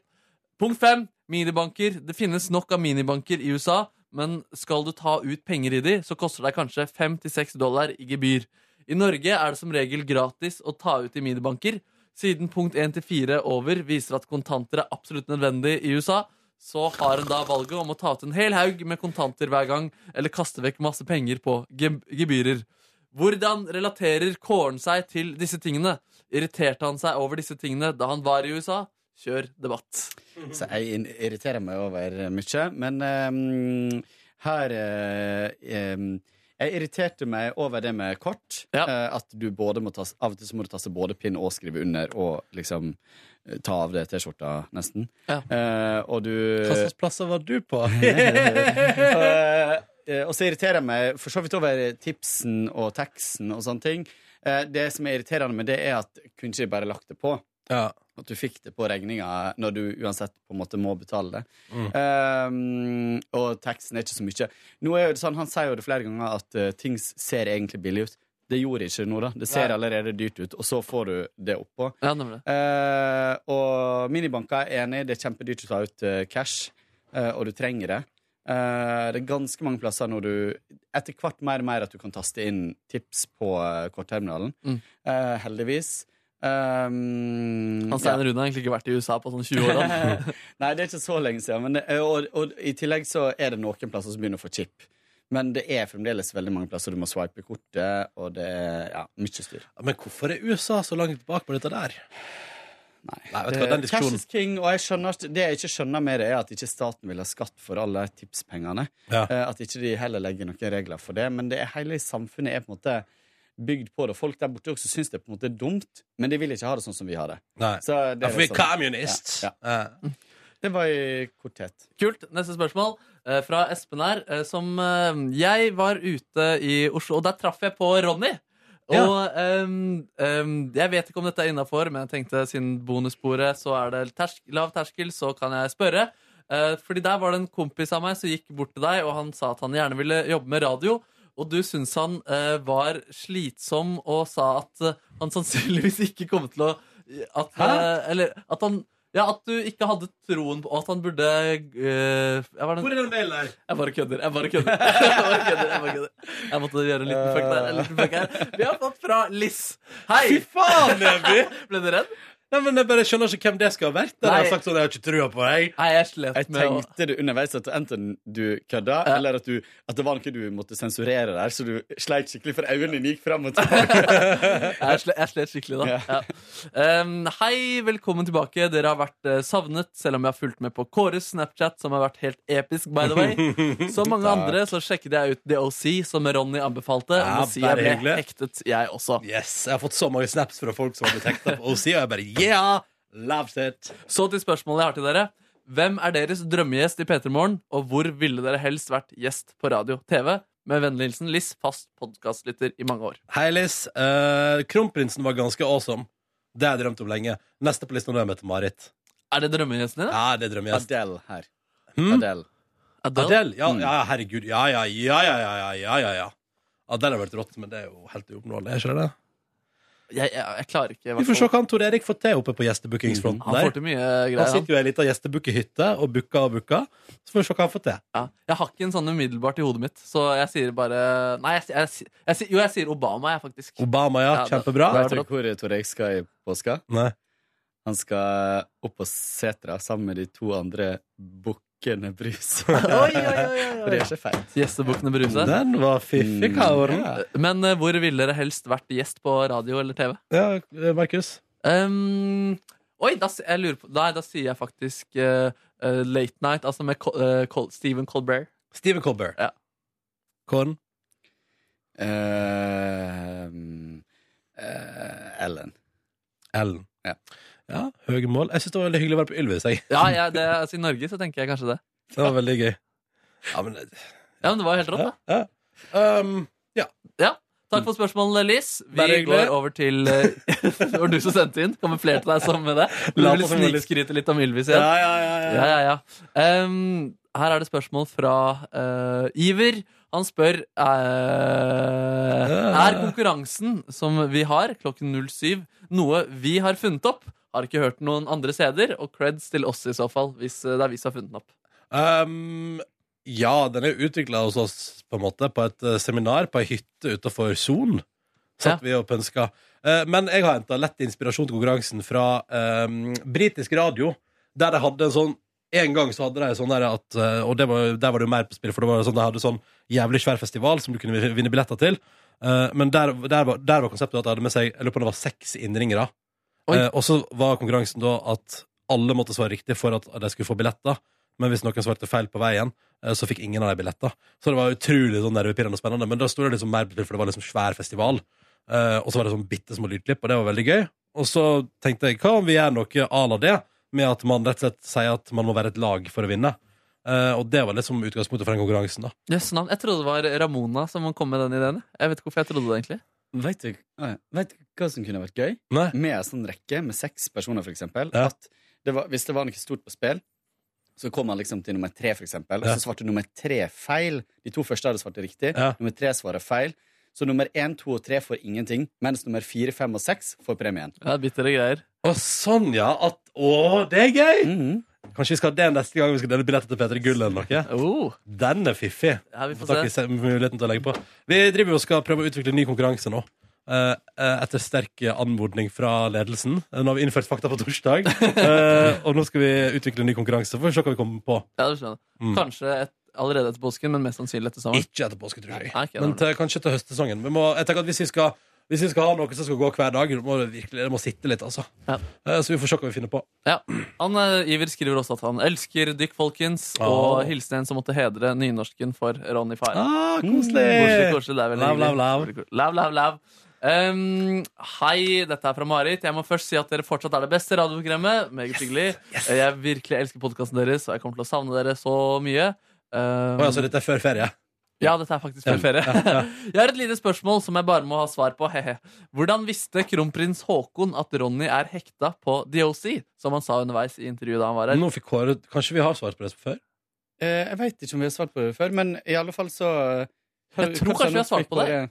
Punkt fem, minibanker. Det finnes nok av minibanker i USA, men skal du ta ut penger i de, så koster det kanskje 5-6 dollar i gebyr. I Norge er det som regel gratis å ta ut i minibanker. Siden punkt 1-4 over viser at kontanter er absolutt nødvendig i USA, så har en da valget om å ta ut en hel haug med kontanter hver gang, eller kaste vekk masse penger på geb- gebyrer. Hvordan relaterer Kåren seg til disse tingene? Irriterte han seg over disse tingene da han var i USA? Kjør debatt.
Så jeg in- irriterer meg over mye, men ehm, her eh, ehm, Jeg irriterte meg over det med kort. eh, at du både må tasse, av og til så må du tasse både pinn og skrive under og liksom eh, ta av deg T-skjorta, nesten. Eh, og du
Hva
[LAUGHS]
slags plasser var du på?
Eh, eh, og så irriterer jeg meg for så vidt over tipsen og taxen og sånne ting. Eh, det som er irriterende med det, er at kunne ikke de bare lagt det på? At du fikk det på regninga når du uansett på en måte må betale det.
Mm.
Eh, og taxen er ikke så mye. Nå er jo det sånn, Han sier jo det flere ganger at eh, ting ser egentlig billig ut. Det gjorde ikke det nå, da. Det ser
Nei.
allerede dyrt ut, og så får du det oppå. Ehm,
Ja, nemlig.
Eh, og minibanker er enig, det er kjempedyrt å ta ut eh, cash, eh, og du trenger det. Eh, det er ganske mange plasser når du etter hvert mer og mer at du kan taste inn tips på eh, kortterminalen.
Mm.
Eh, heldigvis. Um,
Han Stein Rune har egentlig ikke vært i USA på sånn 20 år. [LAUGHS] han.
[LAUGHS] Nei, det er ikke så lenge siden. Men det, eh, og, og i tillegg så er det noen plasser som begynner å få chip. Men det er fremdeles veldig mange plasser du må swipe kortet, og det er ja, mye styr.
Men hvorfor er USA så langt bak på dette der?
Nei,
vet du hva, den
Det-
diskusjonen-
Cash is Eh, king, og jeg skjønner, at- Det jeg ikke skjønner med det, er at ikke staten vil ha skatt for alle tipspengene. Eh, At ikke de heller legger noen regler for det. Men det er hele samfunnet er på en måte bygd på det. Folk der borte også syns det på en måte er dumt, men de vil ikke ha det sånn som vi har det.
Nei.
Så
Ja, for vi er Eh,
sånn-
kommunist.
Ja,
ja.
Det var i korthet.
Kult. Neste spørsmål eh, fra Espen her, eh, som eh, Jeg var ute i Oslo, og der traff jeg på Ronny. Og ehm, ehm, jeg vet ikke om dette er innafor, men jeg tenkte siden bonussporet så er det tersk, lav terskel, så kan jeg spørre. Eh, fordi der var det en kompis av meg som gikk bort til deg, og han sa at han gjerne ville jobbe med radio. Og du syntes han eh, var slitsom og sa at eh, han sannsynligvis ikke kom til å at, eh, Eller at han Ja, at du ikke hadde troen på At han burde eh, jeg var den-
Hvor er den delen der?
Jeg bare kødder. Jeg bare kødder. [LAUGHS] Jeg bare kødder, jeg bare kødder. Jeg måtte gjøre en liten fuck der. En liten fuck her. Vi har fått fra Liss. Hei!
Fy faen, Neby!
[LAUGHS] Ble du redd?
Nei, men Jeg bare skjønner ikke hvem det skal ha vært. Nei. Jeg har sagt sånn, jeg har ikke trua på deg.
Nei, jeg slet
Jeg
med å-
tenkte det underveis at enten du kødda, eller at, du, at det var noe du måtte sensurere der, så du sleit skikkelig, for øynene dine gikk fram og tilbake.
Jeg slet, jeg slet skikkelig da. Ja. Ehm, hei, velkommen tilbake. Dere har vært eh, savnet, selv om jeg har fulgt med på Kåres Snapchat, som har vært helt episk, by
[LAUGHS]
the way. Som mange
Takk.
andre så sjekket jeg ut The OC, som Ronny anbefalte.
Ja,
Må si jeg
bare
ble
hyggelig.
hektet, jeg også.
Yes, Jeg har fått så mange snaps fra folk som har blitt hekta på OC, og jeg bare yeah! Loved it.
Så til spørsmålet jeg har til dere. Hvem er deres drømmegjest i P3 Morgen, og hvor ville dere helst vært gjest på radio, TV? Med vennlig hilsen Liss, fast podkastlytter i mange år.
Hei, Liss. Eh, Kronprinsen var ganske awesome. Det har jeg drømt om lenge. Neste på lista nå er møte Marit.
Er det drømmegjesten din?
Ja, det er drømmegjest.
Adele Mm. her. Adele.
Adele?
Ja, ja, herregud. Ja, ja, ja, ja, ja, ja, ja, ja, ja. Adele har vært rått, men det er jo helt uoppnåelig. er ikke det det?
Jeg, jeg, jeg klarer ikke. i hvert
Vi får se
fall.
hva han Tor Erik får til oppe på gjestebookingsfronten
Mm, Han får til mye greier,
Han
han.
sitter jo i ei lita gjestebookehytte og booker og booker. Så får vi se hva han får til.
Ja. Jeg har ikke en sånn umiddelbart i hodet mitt, så jeg sier bare Nei, jeg, jeg, jeg, sier- jo, jeg sier Obama, jeg, faktisk.
Obama, ja.
Ja, det-
Kjempebra.
det er
Vet du hvor Tor Eik skal i påska?
Nei.
Han skal opp på setra sammen med de to andre bukkene [LAUGHS] Brus. For det er ikke feil.
Gjestebukkene Bruse.
Den var fiffig,
Mm.
Karen.
Men eh, hvor ville dere helst vært gjest på radio eller TV?
Ja, eh, Markus?
Um, oi, da, s- jeg lurer på Nei, da sier jeg faktisk eh, eh, Late Night, altså med Col eh, Col Stephen Colbert.
Stephen Colbert.
Ja.
Kåren?
Ehm, eh, Ellen.
Ellen.
Ja.
Ja, høye mål. Jeg syns det var veldig hyggelig å være på Ylvis. Jeg.
Ja, jeg, det, altså, I Norge så tenker jeg kanskje det.
Det var veldig gøy. Ja, men,
Ja, men det var helt rått, da.
ja. Um, ja.
Ja. Takk for spørsmålet, Liss. Vi
Bare hyggelig.
går over til eh, [LAUGHS] Det var du som sendte inn. Kommer flere til deg som med det? Du
La
vil
på som jeg har lyst.
snikskryte litt om Ylvis igjen?
Ja, ja, ja, ja.
ja. Um, her er det spørsmål fra eh, Iver. Han spør eh, Er konkurransen som vi har klokken 07, noe vi har funnet opp? Har ikke hørt noen andre steder, og creds til oss i så fall, hvis eh, det er vi som har funnet den opp.
Um, ja, den er utvikla hos oss på en måte på et eh, seminar på ei hytte utafor Son. Satt vi og pønska. Eh, men jeg har henta lett inspirasjon til konkurransen fra um, britisk radio, der de hadde en sånn en gang så hadde de sånn der at eh, Og det var, der var det jo mer på spill, for det var sånn, de hadde sånn jævlig svær festival som du kunne vinne billetter til. Eh, men der, der, var, der var konseptet at de hadde med seg Jeg lurer på om det var seks innringere. Eh, og så var konkurransen da at alle måtte svare riktig for at de skulle få billetter. Men hvis noen svarte feil på veien, eh, så fikk ingen av de billetter. Så det var utrolig sånn nervepirrende og spennende. Men da sto det liksom mer på spill, for det var liksom svær festival. Eh, og så var det sånn bitte små lydklipp, og det var veldig gøy. Og så tenkte jeg, hva om vi gjør noe à la det, med at man rett og slett sier at man må være et lag for å vinne? Eh, og det var liksom utgangspunktet for den konkurransen, da.
Jøss navn. Jeg trodde det var Ramona som kom med den ideen. Jeg vet ikke hvorfor jeg trodde det, egentlig.
Vet du, nei, vet du hva som kunne vært gøy? Med en sånn rekke med seks personer, for eksempel. At det var, hvis det var noe stort på spill, så kom han liksom til nummer tre, for eksempel. Og
Ja.
så svarte nummer tre feil. De to første hadde svart riktig.
Ja.
Nummer tre svarer feil. Så nummer én, to og tre får ingenting, mens nummer fire, fem og seks får premien.
Ja, bittere greier.
Mhm.
Å, sånn, ja. At, å, det er gøy! Kanskje vi skal ha det neste gang vi skal dele billetter til Peter Gull eller noe? Den er fiffig.
Oh. Ja, vi får
Takk,
se.
vi ser muligheten til å legge på. Vi driver og skal prøve å utvikle en ny konkurranse nå. eh, eh, etter sterk anmodning fra ledelsen. Eh, Nå har vi innført fakta på
[LAUGHS]
torsdag. eh, og nå skal vi utvikle en ny konkurranse. Så får vi se hva vi kommer på.
Ja, du skjønner.
Mm.
Kanskje et, allerede etter påsken, men mest sannsynlig etter sommeren.
Ikke etter påske, tror jeg.
Nei, ikke,
Men
det.
til, kanskje til høstsesongen. Vi må, jeg tenker at hvis vi skal hvis vi skal ha noe som skal gå hver dag, må det virkelig det må sitte litt. altså Eh, Så vi får se hva vi finner på.
ja. Han, eh, Iver skriver også at han elsker dykk, folkens,
Åh.
og hilsen en som måtte hedre nynorsken for Ronny Fire.
Ah,
Mm.
Koselig, koselig. Det er veldig
Lav, lav,
hyggelig.
lav.
Lav, lav, lav. Um, hei, dette er fra Marit. Jeg må først si at dere fortsatt er det beste radioprogrammet. Meget hyggelig. Jeg virkelig elsker podkasten deres, og jeg kommer til å savne dere så mye. Um,
Oi, altså, dette er før ferie?
Ja, dette er faktisk før ferie. [LAUGHS] Jeg har et lite spørsmål som jeg bare må ha svar på. Hehe. Hvordan visste kronprins Haakon at Ronny er hekta på DOC, som han sa underveis i intervjuet da han var her?
Nå fikk Kåre, Kanskje vi har svart på det før?
Eh, jeg veit ikke om vi har svart på det før, men i alle fall så eh,
Jeg tror kanskje vi har svart på det.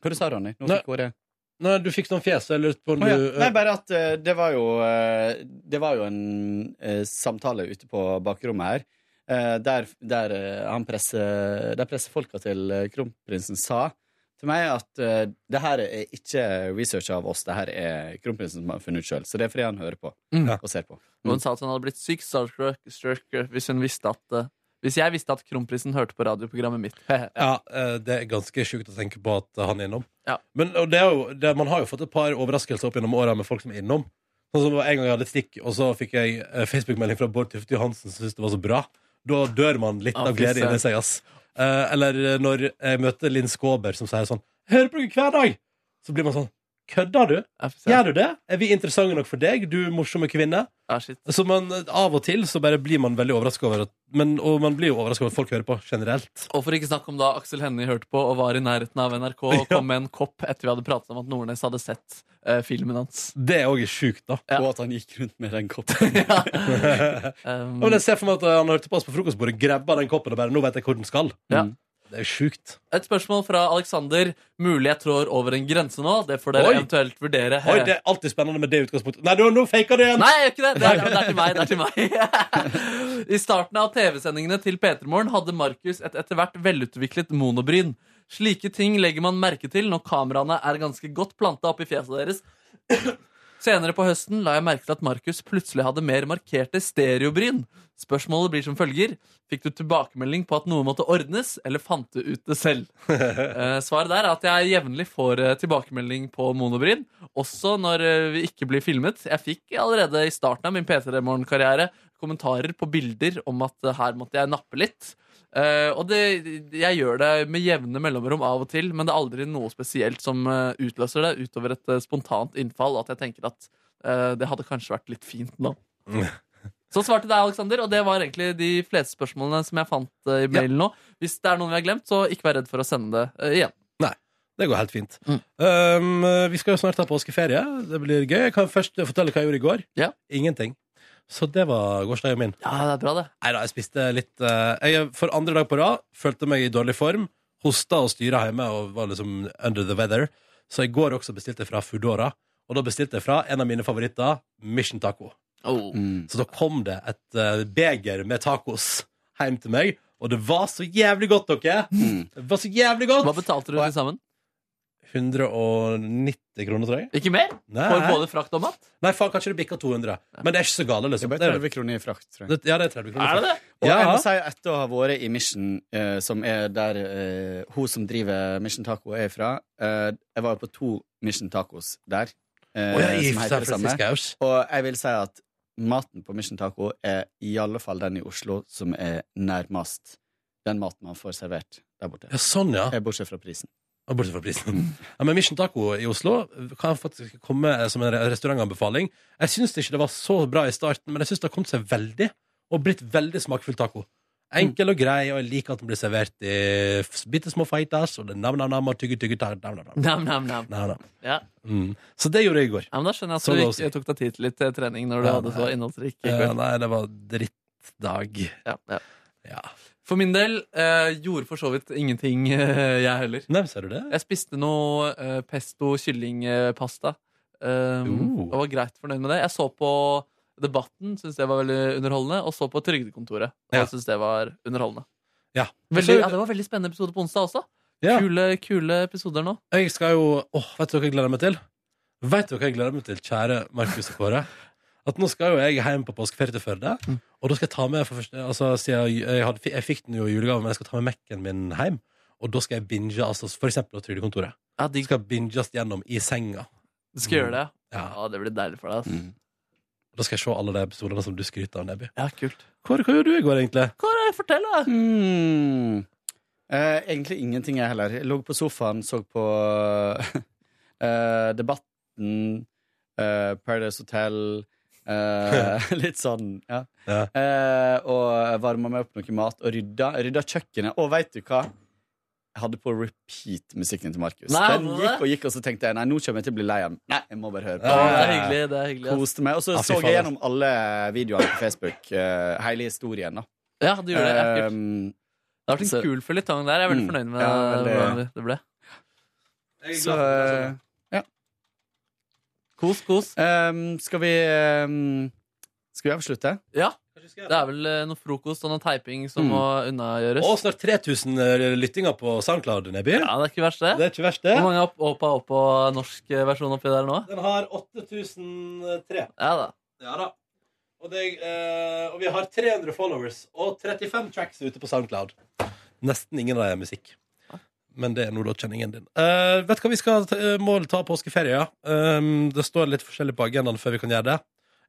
Hva du sa Ronny? Nå
Nei.
fikk Kåre
Nei, du fikk sånn fjes, jeg lurte på om
Å, ja.
du
Nei, bare at eh, det var jo eh, Det var jo en eh, samtale ute på bakrommet her, eh, der, der eh, han presser Der pressefolka til eh, kronprinsen sa til meg at eh, det her er ikke research av oss, det her er kronprinsen som har funnet ut sjøl. Så det er fordi han hører på
Mm.
og ser på.
Og hun sa at hun hadde blitt sykt starstruck struck hvis hun visste at eh, Hvis jeg visste at kronprinsen hørte på radioprogrammet mitt. [LAUGHS]
Ja, eh, det er ganske sjukt å tenke på at han er innom. Men og det er jo, det, man har jo fått et par overraskelser opp gjennom åra med folk som er innom. Sånn som En gang jeg hadde et stikk, og så fikk jeg eh, Facebook-melding fra Bård Tufte Johansen som syntes det var så bra. Da dør man litt
Ah,
av
fy
glede inni seg, ass. Eh, eller eh, når jeg møter Linn Skåber som sier sånn Jeg hører på dere hver dag! Så blir man sånn Kødder du? Gjør du det? Er vi interessante nok for deg, du morsomme kvinne? Så man, eh, av og til så bare blir man veldig overraska over at men, Og man blir jo overraska over at folk hører på, generelt.
Og for ikke snakk om da Aksel Hennie hørte på og var i nærheten av NRK
[LAUGHS]
og kom med en kopp etter vi hadde pratet om at Nordnes hadde sett eh, filmen hans.
Det òg er sjukt, da.
Og at han gikk rundt med den
[LAUGHS]
koppen.
Ja,
Um,
men jeg ser for meg at eh, han hørte på oss på frokostbordet, grabba den koppen og bare 'Nå vet jeg hvor den skal'.
Mm.
Det er jo sjukt.
Et spørsmål fra Alexander. Mulig jeg trår over en grense nå. Det får dere
Oi.
eventuelt vurdere.
Oi, det er alltid spennende med det utgangspunktet. Nei, nå, nå faker du igjen!
Nei, jeg gjør ikke det. Det er, det er til meg. det er til meg [LAUGHS] I starten av TV-sendingene til P3morgen hadde Markus et etter hvert velutviklet monobryn. Slike ting legger man merke til når kameraene er ganske godt planta oppi fjeset deres. Senere på høsten la jeg merke til at Markus plutselig hadde mer markerte stereobryn. Spørsmålet blir som følger Fikk du tilbakemelding på at noe måtte ordnes, eller fant du ut det selv? Eh, svaret der er at jeg jevnlig får eh, tilbakemelding på monobryn, også når eh, vi ikke blir filmet. Jeg fikk allerede i starten av min P3morgen-karriere kommentarer på bilder om at eh, her måtte jeg nappe litt. Eh, og det, jeg gjør det med jevne mellomrom av og til, men det er aldri noe spesielt som eh, utløser det, utover et eh, spontant innfall, at jeg tenker at eh, det hadde kanskje vært litt fint nå. Så svarte deg, Alexander, og det var egentlig de fleste spørsmålene som jeg fant eh, i mailen nå. Hvis det er noen vi har glemt, så ikke vær redd for å sende det eh, igjen.
Nei, det går helt fint. Um, vi skal jo snart ha påskeferie. Det blir gøy. Jeg kan først fortelle hva jeg gjorde i går. Ingenting. Så det var gårsdagen min.
Ja, det er bra, det.
Nei da, jeg spiste litt eh, jeg, For andre dag på rad følte meg i dårlig form. Hosta og styra hjemme og var liksom under the weather. Så i går også bestilte jeg fra Foodora. Og da bestilte jeg fra en av mine favoritter, Mission Taco. Så da kom det et eh, beger med tacos hjem til meg, og det var så jævlig godt, dere!
Mm.
Det var så jævlig godt!
Hva betalte du til sammen?
190 kroner, tror jeg.
Ikke mer?
Nei.
For både frakt og mat?
Nei, faen, kanskje det bikka 200. Men det er ikke så gale, liksom.
Det er bare 30 kroner i frakt, tror jeg.
Det- Ja, det er 30 kroner.
Er det
frakt.
Og
Ja.
jeg må si, etter å ha vært i Mission, eh, som er der eh, hun som driver Mission Taco er fra eh, Jeg var jo på to Mission Tacos der. eh,
Å, ja, i
som heter
San
det samme.
Francisco.
Og jeg vil si at maten på Mission Taco er i alle fall den i Oslo som er nærmest den maten man får servert der borte.
Ja, sånn, ja.
Eh, Bortsett fra prisen.
Og Bortsett fra prisen. Ja, men Mission Taco i Oslo kan faktisk komme eh, som en re- restaurantanbefaling. Jeg syns ikke det var så bra i starten, men jeg syns det har kommet seg veldig, og blitt veldig smakfull taco. Enkel og grei, og jeg liker at den blir servert i bitte små feitas, og det er nam-nam-nam og tygge-tygge-tar.
Nam, nam, nam. Ja.
Mm. Så det gjorde jeg i går.
Ja, men Da skjønner jeg at
Så
du
la oss
ikke tok deg tid til litt eh, trening når du
Ja,
hadde
nei.
så innholdsrik
Eh,
kveld.
nei, det var drittdag.
Ja, ja. For min del eh, gjorde for så vidt ingenting, [LAUGHS] eh, jeg heller.
Nei, ser du det?
Jeg spiste noe eh, Ehm,
Uh.
pesto kyllingpasta. Um, Og var greit fornøyd med det. Jeg så på Debatten syns jeg var veldig underholdende. Og så på Trygdekontoret. Og jeg synes det var underholdende.
Ja.
Veldig, ja, det var en veldig spennende episode på onsdag også. Kule, kule episoder nå.
Jeg skal jo Åh, vet du hva jeg gleder meg til? Vet du hva jeg gleder meg til, kjære Markus og Kåre? At nå skal jo jeg hjem på påskeferie til Førde.
Mm.
Og da skal jeg ta med for første, altså, siden jeg, jeg, hadde, jeg fikk den jo i julegave, men jeg skal ta med Mac-en min hjem. Og da skal jeg binge altså, for eksempel på Trygdekontoret. Skal binges gjennom i senga.
Du skal gjøre det? Ja.
Mm.
det blir deilig for deg. ass.
Og Da skal jeg se alle de episodene som du skryter av, Neby.
Ja, kult.
Kåre, hva gjorde du i går, egentlig?
Kåre, fortell, da!
Mm. Eh, egentlig ingenting, jeg heller. Jeg lå på sofaen, så på [LAUGHS] eh, Debatten, eh, Paradise Hotel eh, [LAUGHS] Litt sånn, ja. Eh, og varma meg opp noe mat og rydda, rydda kjøkkenet. Og veit du hva? Jeg hadde på repeat musikken til Markus.
Nei,
Den
hadde du det?
gikk og gikk, og så tenkte jeg nei, nå kommer jeg til å bli lei av den. Nei, jeg må bare høre på.
Ja, det
Eh,
er
den.
hyggelig. det er hyggelig ass.
Koste meg. Og så
Ja, fy
så jeg
faen,
gjennom alle videoene på Facebook. eh, hele historien, da.
Ja, du gjorde det. Ja,
Eh,
kult. Det har
Um,
vært en kul føljetong der. Jeg er veldig
Mm.
fornøyd med
Ja, veldig.
hvordan det ble.
Så
altså.
eh, ja.
Kos, kos.
eh, skal vi ehm, Skal vi avslutte?
Ja. Det er vel eh, noe frokost og noe teiping som
Mm.
må unnagjøres.
Og snart 3000 lyttinger på SoundCloud, Neby.
Ja, det er ikke verst, det.
Det er ikke verst, det.
Hvor mange har Åpa Åpa norsk eh, versjon oppi der nå?
Den har eh, 8003.
Ja da.
Ja da. Og, det, eh, og vi har 300 followers og 35 tracks ute på SoundCloud. Nesten ingen av dem er musikk. Men det er nå da kjenningen din. Eh, vet du hva vi skal ta, eh, må ta påskeferie? Ja. Um, det står litt forskjellig på agendaen før vi kan gjøre det.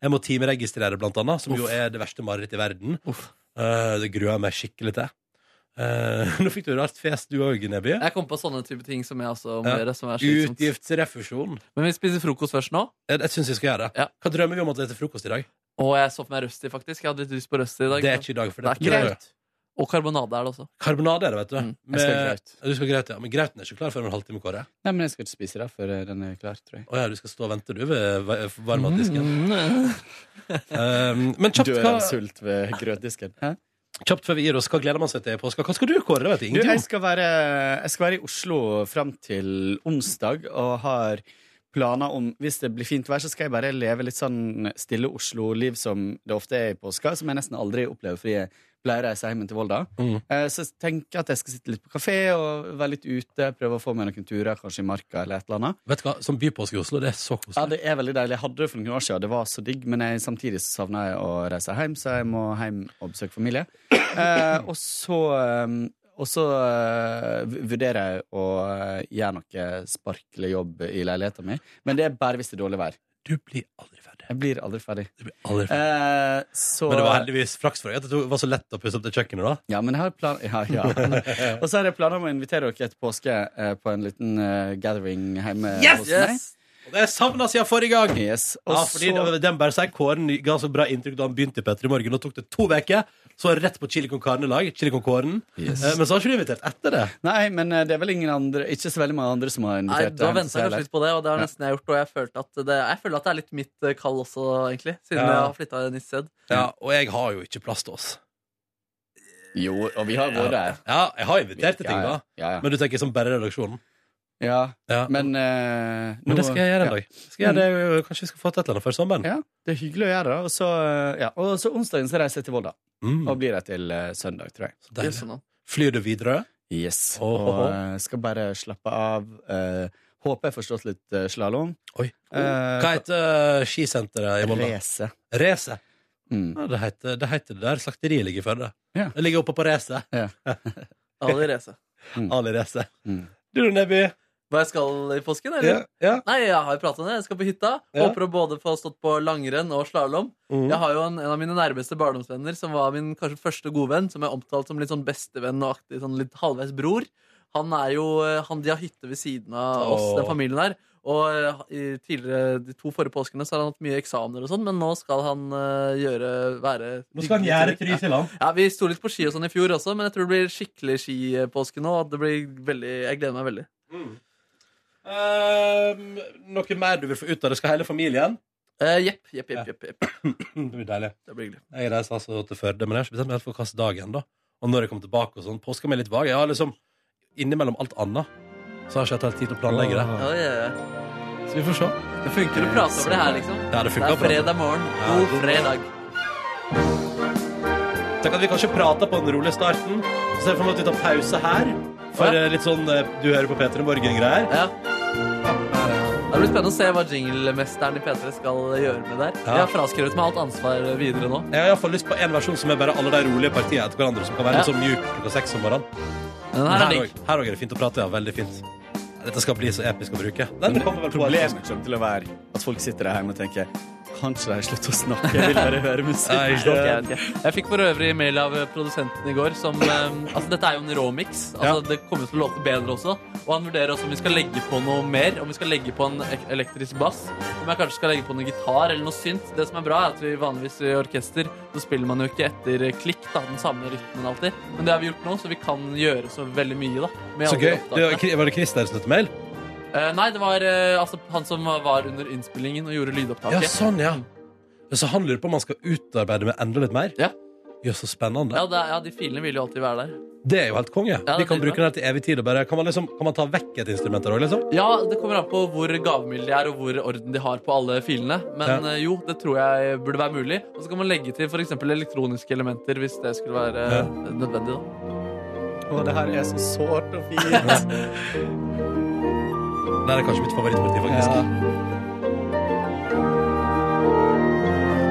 Jeg må timeregistrere, blant annet, som jo
Uff.
er det verste marerittet i verden. Eh, det gruer jeg meg skikkelig til. Eh, [LAUGHS] nå fikk du rart fjes, du òg, Neby.
Jeg kom på sånne type ting som jeg også må
Ja.
gjøre. Som er slitsomt.
Utgiftsrefusjon.
Men vi spiser frokost først nå.
Jeg, jeg syns vi skal gjøre det. Hva drømmer vi om at det er til frokost i dag?
Og jeg så for meg Rusty, faktisk. Jeg hadde litt lyst på Rusty i dag.
Det er ikke i dag, for det
det
er
er
grøt.
grøt. Og karbonade er det også.
Karbonade er det, vet du.
Mm,
Jeg skal ha
graut. Du skal ha graut, ja. Men grauten er ikke klar før om en halvtime, Kåre.
Nei, men jeg skal ikke spise det før den er klar, tror jeg.
Å ja, du skal stå og vente, du, ved va-
Mm.
[LAUGHS] varmmatdisken. Um, men kjapt,
Dør
hva-
av sult ved grøtdisken. Hæ?
Kjapt før vi gir oss, hva gleder man seg til i påska? Hva skal du, Kåre? Det vet jeg
Du, jeg
ingenting om.
skal, være, jeg skal være i Oslo fram til onsdag og har planer om Hvis det blir fint vær, så skal jeg bare leve litt sånn stille Oslo-liv som det ofte er i påska, som jeg nesten aldri opplever fordi jeg pleier å reise hjem til Volda.
Mm.
Eh, Så jeg tenker at jeg skal sitte litt på kafé og være litt ute, prøve å få meg noen turer, kanskje i marka eller et eller annet.
Vet du hva, Som bypåske i Oslo, det er så koselig.
Ja, det er veldig deilig. Jeg hadde det for noen år siden, det var så digg, men jeg, samtidig så savna jeg å reise hjem, så jeg må hjem og besøke familie. Eh, og så eh, og så eh, v- vurderer jeg å eh, gjøre noe sparklejobb i leiligheten min, men det er bare hvis det er dårlig vær.
Du blir aldri ferdig.
Jeg blir aldri ferdig.
Aldri ferdig.
Eh, så
Men det var heldigvis flaks for deg at det tok- var så lett å pusse opp det kjøkkenet, da.
Ja, men jeg har plan... Ja, ja. Og så har jeg planer om å invitere dere etter påske eh, på en liten eh, gathering hjemme
Yes!
hos meg.
yes! Og det er savna siden forrige gang!
Yes. Og
Ja, fordi
så-
det- den bare sier Kåren ga så bra inntrykk da han begynte i Petter i morgen. Nå tok det to uker, så var det rett på Chili con carne-lag. Chili con Kåren.
Yes.
Eh, Men så har ikke du invitert etter det.
Nei, men eh, det er vel ingen andre ikke så veldig mange andre som har
Nei,
invitert.
Du har
deg,
venta kanskje
heller.
litt på det, og det har
Ja.
nesten jeg gjort. Og jeg, følte at det, jeg føler at det er litt mitt eh, kall også, egentlig. Siden
Ja.
jeg har flytta nytt sted.
Ja, og jeg har jo ikke plass til oss.
Jo, og vi har vært der.
Ja, jeg har invitert til ting,
Ja, ja.
da.
Ja, ja.
Men du tenker som bare redaksjonen?
Ja, men eh,
Men
nå-
det skal jeg gjøre en
ja. Mm.
dag. Skal jeg gjøre det, kanskje vi skal få til et eller annet før sommeren?
Ja, det er hyggelig å gjøre det. Og så, eh, ja. og så onsdagen så reiser jeg til Volda.
Mm.
Og blir der til eh, søndag, tror jeg.
deilig. Yes, Flyr du videre?
Yes.
Åh,
Og eh, skal bare slappe av. eh, håper jeg har forstått litt uh, slalåm.
Oi.
Eh,
Hva heter eh, skisenteret i Volda?
Rese.
Rese.
Mm.
Ja, det, heter, det heter det der. Slakteriet ligger i Førde.
Ja.
Det ligger oppe på Rese.
Ali Reze.
Ali Rese.
Mm.
Du, Nebby.
Hva jeg skal i påsken, eller? Nei, jeg har jo prata om det. Jeg skal på hytta.
Ja.
Håper å både få stått på langrenn og slalåm.
Mhm.
Jeg har jo en, en av mine nærmeste barndomsvenner, som var min kanskje første godvenn, som jeg omtalte som litt sånn bestevenn og aktig, sånn litt halvveis bror. Han er jo, eh, han, De har hytte ved siden av oss,
Åh.
den familien her. Og eh, i tidligere, De to forrige påskene så har han hatt mye eksamener, og sånn, men nå skal han eh, gjøre være
Nå skal han gjøre try til han.
Ja, Vi sto litt på ski og sånn i fjor også, men jeg tror det blir skikkelig skipåske nå. og Det blir veldig, Jeg gleder meg veldig.
Ehm, noe mer du vil få ut av det? Skal hele familien? [CLEARS THROAT]
Eh, Jepp, jepp, jepp. jepp, jepp.
Det blir deilig.
Det blir hyggelig.
Jeg reiser altså til Førde, men jeg har ikke bestemt meg helt for hvilken dag ennå. Og når jeg kommer tilbake og sånn. Påska mi er litt vag. Jeg har liksom innimellom alt annet. Så har jeg ikke hatt helt tid til å planlegge det.
Ja, ja, ja.
Så vi får se.
Det funker å prate over det her, liksom.
Ja, det funker
er
å prate.
fredag morgen.
Ja,
God
god-
fredag.
Tenk at vi kanskje prater på den rolige starten. Så ser vi for meg at vi tar pause her. For eh, litt sånn eh, du hører på Peter i Morgen-greier.
Ja. Det blir spennende å se hva jinglemesteren i P3 skal gjøre med det her.
Ja.
Jeg har fraskrevet meg alt ansvar videre nå.
Jeg har i hvert fall lyst på en versjon som er bare alle de rolige partiene etter hverandre. Som kan være
Ja.
litt sånn mjuk klokka seks om morgenen.
Den her er digg.
også- her også er det fint å prate, ja. Veldig fint. Dette skal bli så episk å bruke. Den
Men
kommer vel på
Problemet kommer til å være at folk sitter der hjemme og tenker Kan ikke de slutte å snakke? Jeg vil bare høre musikk.
Nei, ok, ok. Jeg fikk for øvrig mail av produsenten i går som eh, Altså, dette er jo en rå mix. Altså, Det kommer til å låte bedre også. Og han vurderer også om vi skal legge på noe mer. Om vi skal legge på en ek- elektrisk bass. Om jeg kanskje skal legge på noe gitar eller noe synt. Det som er bra, er at vi vanligvis i orkester så spiller man jo ikke etter klikk, da, den samme rytmen alltid. Men det har vi gjort nå, så vi kan gjøre så veldig mye, da. med
Så
alle
gøy.
opptakene.
Det var, var det Christer som sendte mail?
Eh, nei, det var eh, altså, han som var under innspillingen og gjorde lydopptaket.
Ja, sånn, ja. Så han lurer på om han skal utarbeide med enda litt mer?
Ja.
Jøss, så spennende.
Ja, det, er- ja, de filene vil jo alltid være der.
Det er jo helt konge.
Ja,
vi
det
kan
blir
bruke den her til evig tid. Og bare, kan, man liksom, kan man ta vekk et instrument der òg, liksom?
Ja, Det kommer an på hvor gavmilde de er, og hvor orden de har på alle filene. Men
Ja.
eh, jo, det tror jeg burde være mulig. Og så kan man legge til f.eks. elektroniske elementer hvis det skulle være eh, nødvendig. da
Å, det her er så sårt og fint.
Det er kanskje mitt favorittparti, faktisk.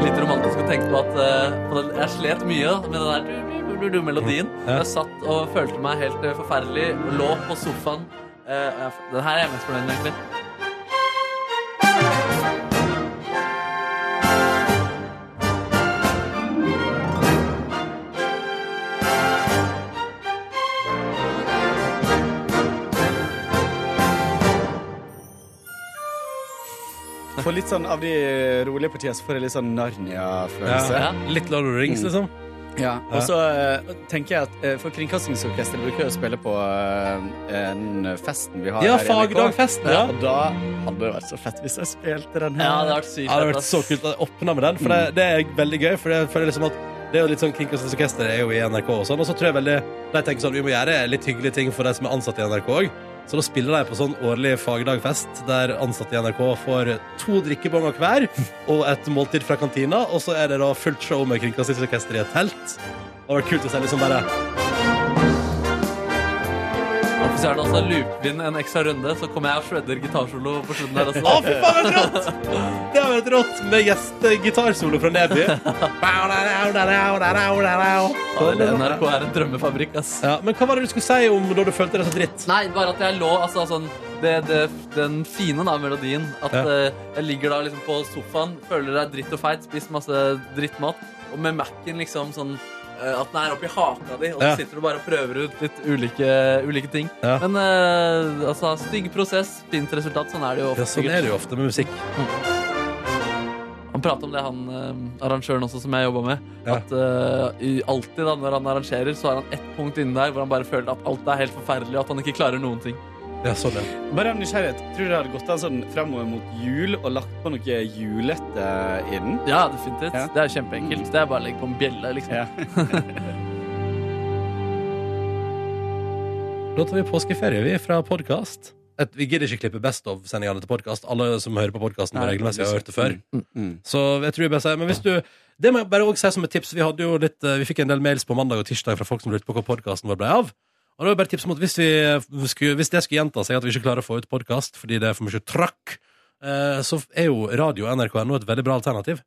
Litt romantisk å tenke på at eh, på den, jeg slet mye da, med den der du-du-du-melodien. Jeg satt og følte meg helt eh, forferdelig. Lå på sofaen. Eh, jeg- den her er jeg mest fornøyd med, egentlig.
For litt sånn av de rolige partiene så får jeg litt sånn Narnia-følelse.
Ja. Litt Lord of the Rings,
Mm.
liksom.
Ja.
Ja.
Og så eh, tenker jeg at eh, For Kringkastingsorkesteret bruker jo å spille på eh, den festen vi har
Ja,
her i NRK.
Fagdagfesten, ja.
Og da hadde det vært så fett hvis jeg spilte den her.
Ja, det har vært
Ja,
sykt
det Mm. hadde
fett,
vært
ass.
så kult å åpne med den, for det, det er veldig gøy. For jeg føler liksom at det er jo litt sånn Kringkastingens orkester er jo i NRK og sånn, og så tror jeg veldig De tenker sånn vi må gjøre litt hyggelige ting for de som er ansatt i NRK òg. Så da spiller de på sånn årlig fagdagfest der ansatte i NRK får to drikkebonger [LAUGHS] hver og et måltid fra kantina, og så er det da fullt show med Kringkastingsorkester i et telt. Det hadde vært kult å se liksom [LAUGHS] bare
Og så er det altså looper inn en ekstra runde, så kommer jeg og shredder gitarsolo på slutten her også.
Å, fy faen, det er rått! Det har vært rått med gjestegitarsolo fra [LAUGHS] Neby.
NRK er en drømmefabrikk, ass.
Ja, men hva var det du skulle si om da du følte deg så dritt?
Nei, bare at jeg lå altså, sånn, det, det, Den fine da, melodien. At
Ja.
eh, jeg ligger da liksom på sofaen, føler deg dritt og feit, spist masse drittmat, og med Mac-en liksom sånn eh, at den er oppi haka di, og så
Ja.
sitter du bare og prøver ut litt ulike, ulike ting.
Ja.
Men eh, altså, stygg prosess, fint resultat. Sånn er det jo ofte.
Ja, sånn er det jo ofte med musikk.
Han prater om det, han eh, arrangøren også, som jeg jobba med. At eh, i, alltid da, når han arrangerer, så har han ett punkt inne der hvor han bare føler at alt er helt forferdelig, og at han ikke klarer noen ting.
Ja, sånn ja.
Bare av nysgjerrighet, tror du det hadde gått an sånn fremover mot jul og lagt på noe julete i den?
Ja, definitivt. Det er jo kjempeenkelt. Det er bare å legge på en bjelle, liksom.
Da tar vi påskeferie vi fra podkast. Vi gidder ikke klippe Best of-sendingene til podkast. Alle som hører på podkasten,
Nei,
regelmessig har hørt det før.
Mm, mm.
Så jeg tror jeg bare sier Men hvis du Det må jeg bare også si som et tips. Vi, hadde jo litt, eh, vi fikk en del mails på mandag og tirsdag fra folk som lurte på hva podkasten vår ble av. Og det var bare et tips om at hvis, vi eh, skulle, hvis det skulle gjenta seg at vi ikke klarer å få ut podkast fordi det er for mye trakk, eh, så er jo radio og nrk.no et veldig bra alternativ.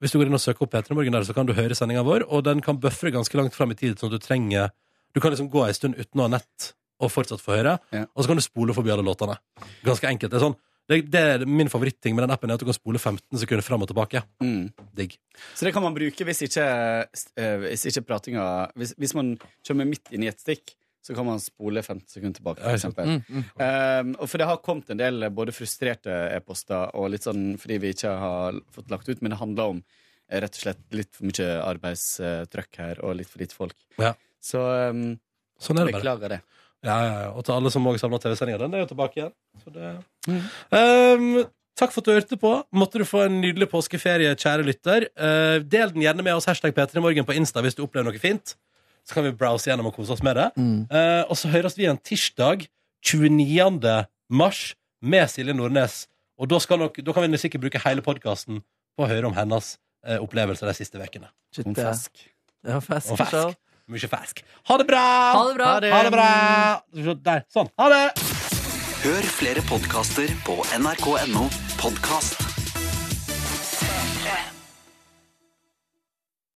Hvis du går inn og søker opp Petra Morgen der, så kan du høre sendinga vår, og den kan buffre ganske langt fram i tid, sånn at du trenger Du kan liksom gå ei stund uten å ha nett og fortsatt få høre, og så kan du spole forbi alle låtene. Ganske enkelt. Det er sånn det, det er min favoritting med den appen, er at du kan spole 15 sekunder fram og tilbake. Digg.
Så det kan man bruke hvis ikke, eh, hvis ikke pratinga hvis, hvis man kommer midt inn i et stikk, så kan man spole 50 sekunder tilbake,
Ja,
for
ikke sant. Mm,
eksempel. Um, og for det har kommet en del eh, både frustrerte e-poster og litt sånn fordi vi ikke har fått lagt ut, men det handler om eh, rett og slett litt for mye arbeidstrøkk her og litt for lite folk.
Ja.
Så um,
Sånn er det bare.
beklager det.
Ja, ja, ja. Og til alle som også savner TV-sendinga, den er jo tilbake igjen. Så det... Ehm, takk for at du hørte på. Måtte du få en nydelig påskeferie, kjære lytter. Eh, del den gjerne med oss, hashtag P3morgen på Insta hvis du opplever noe fint. Så kan vi browse gjennom og kose oss med det. Eh, og så høres vi igjen tirsdag 29. mars med Silje Nordnes Og da, skal nok, da kan vi sikkert bruke hele podkasten på å høre om hennes eh, opplevelser de siste ukene.
Shit, det er- Ja, fersk.
Og fersk.
show.
Mye fersk. Ha det bra! Ha
det bra.
Ha det bra. Der. Sånn. Ha det!
Hør flere podkaster på nrk.no podkast.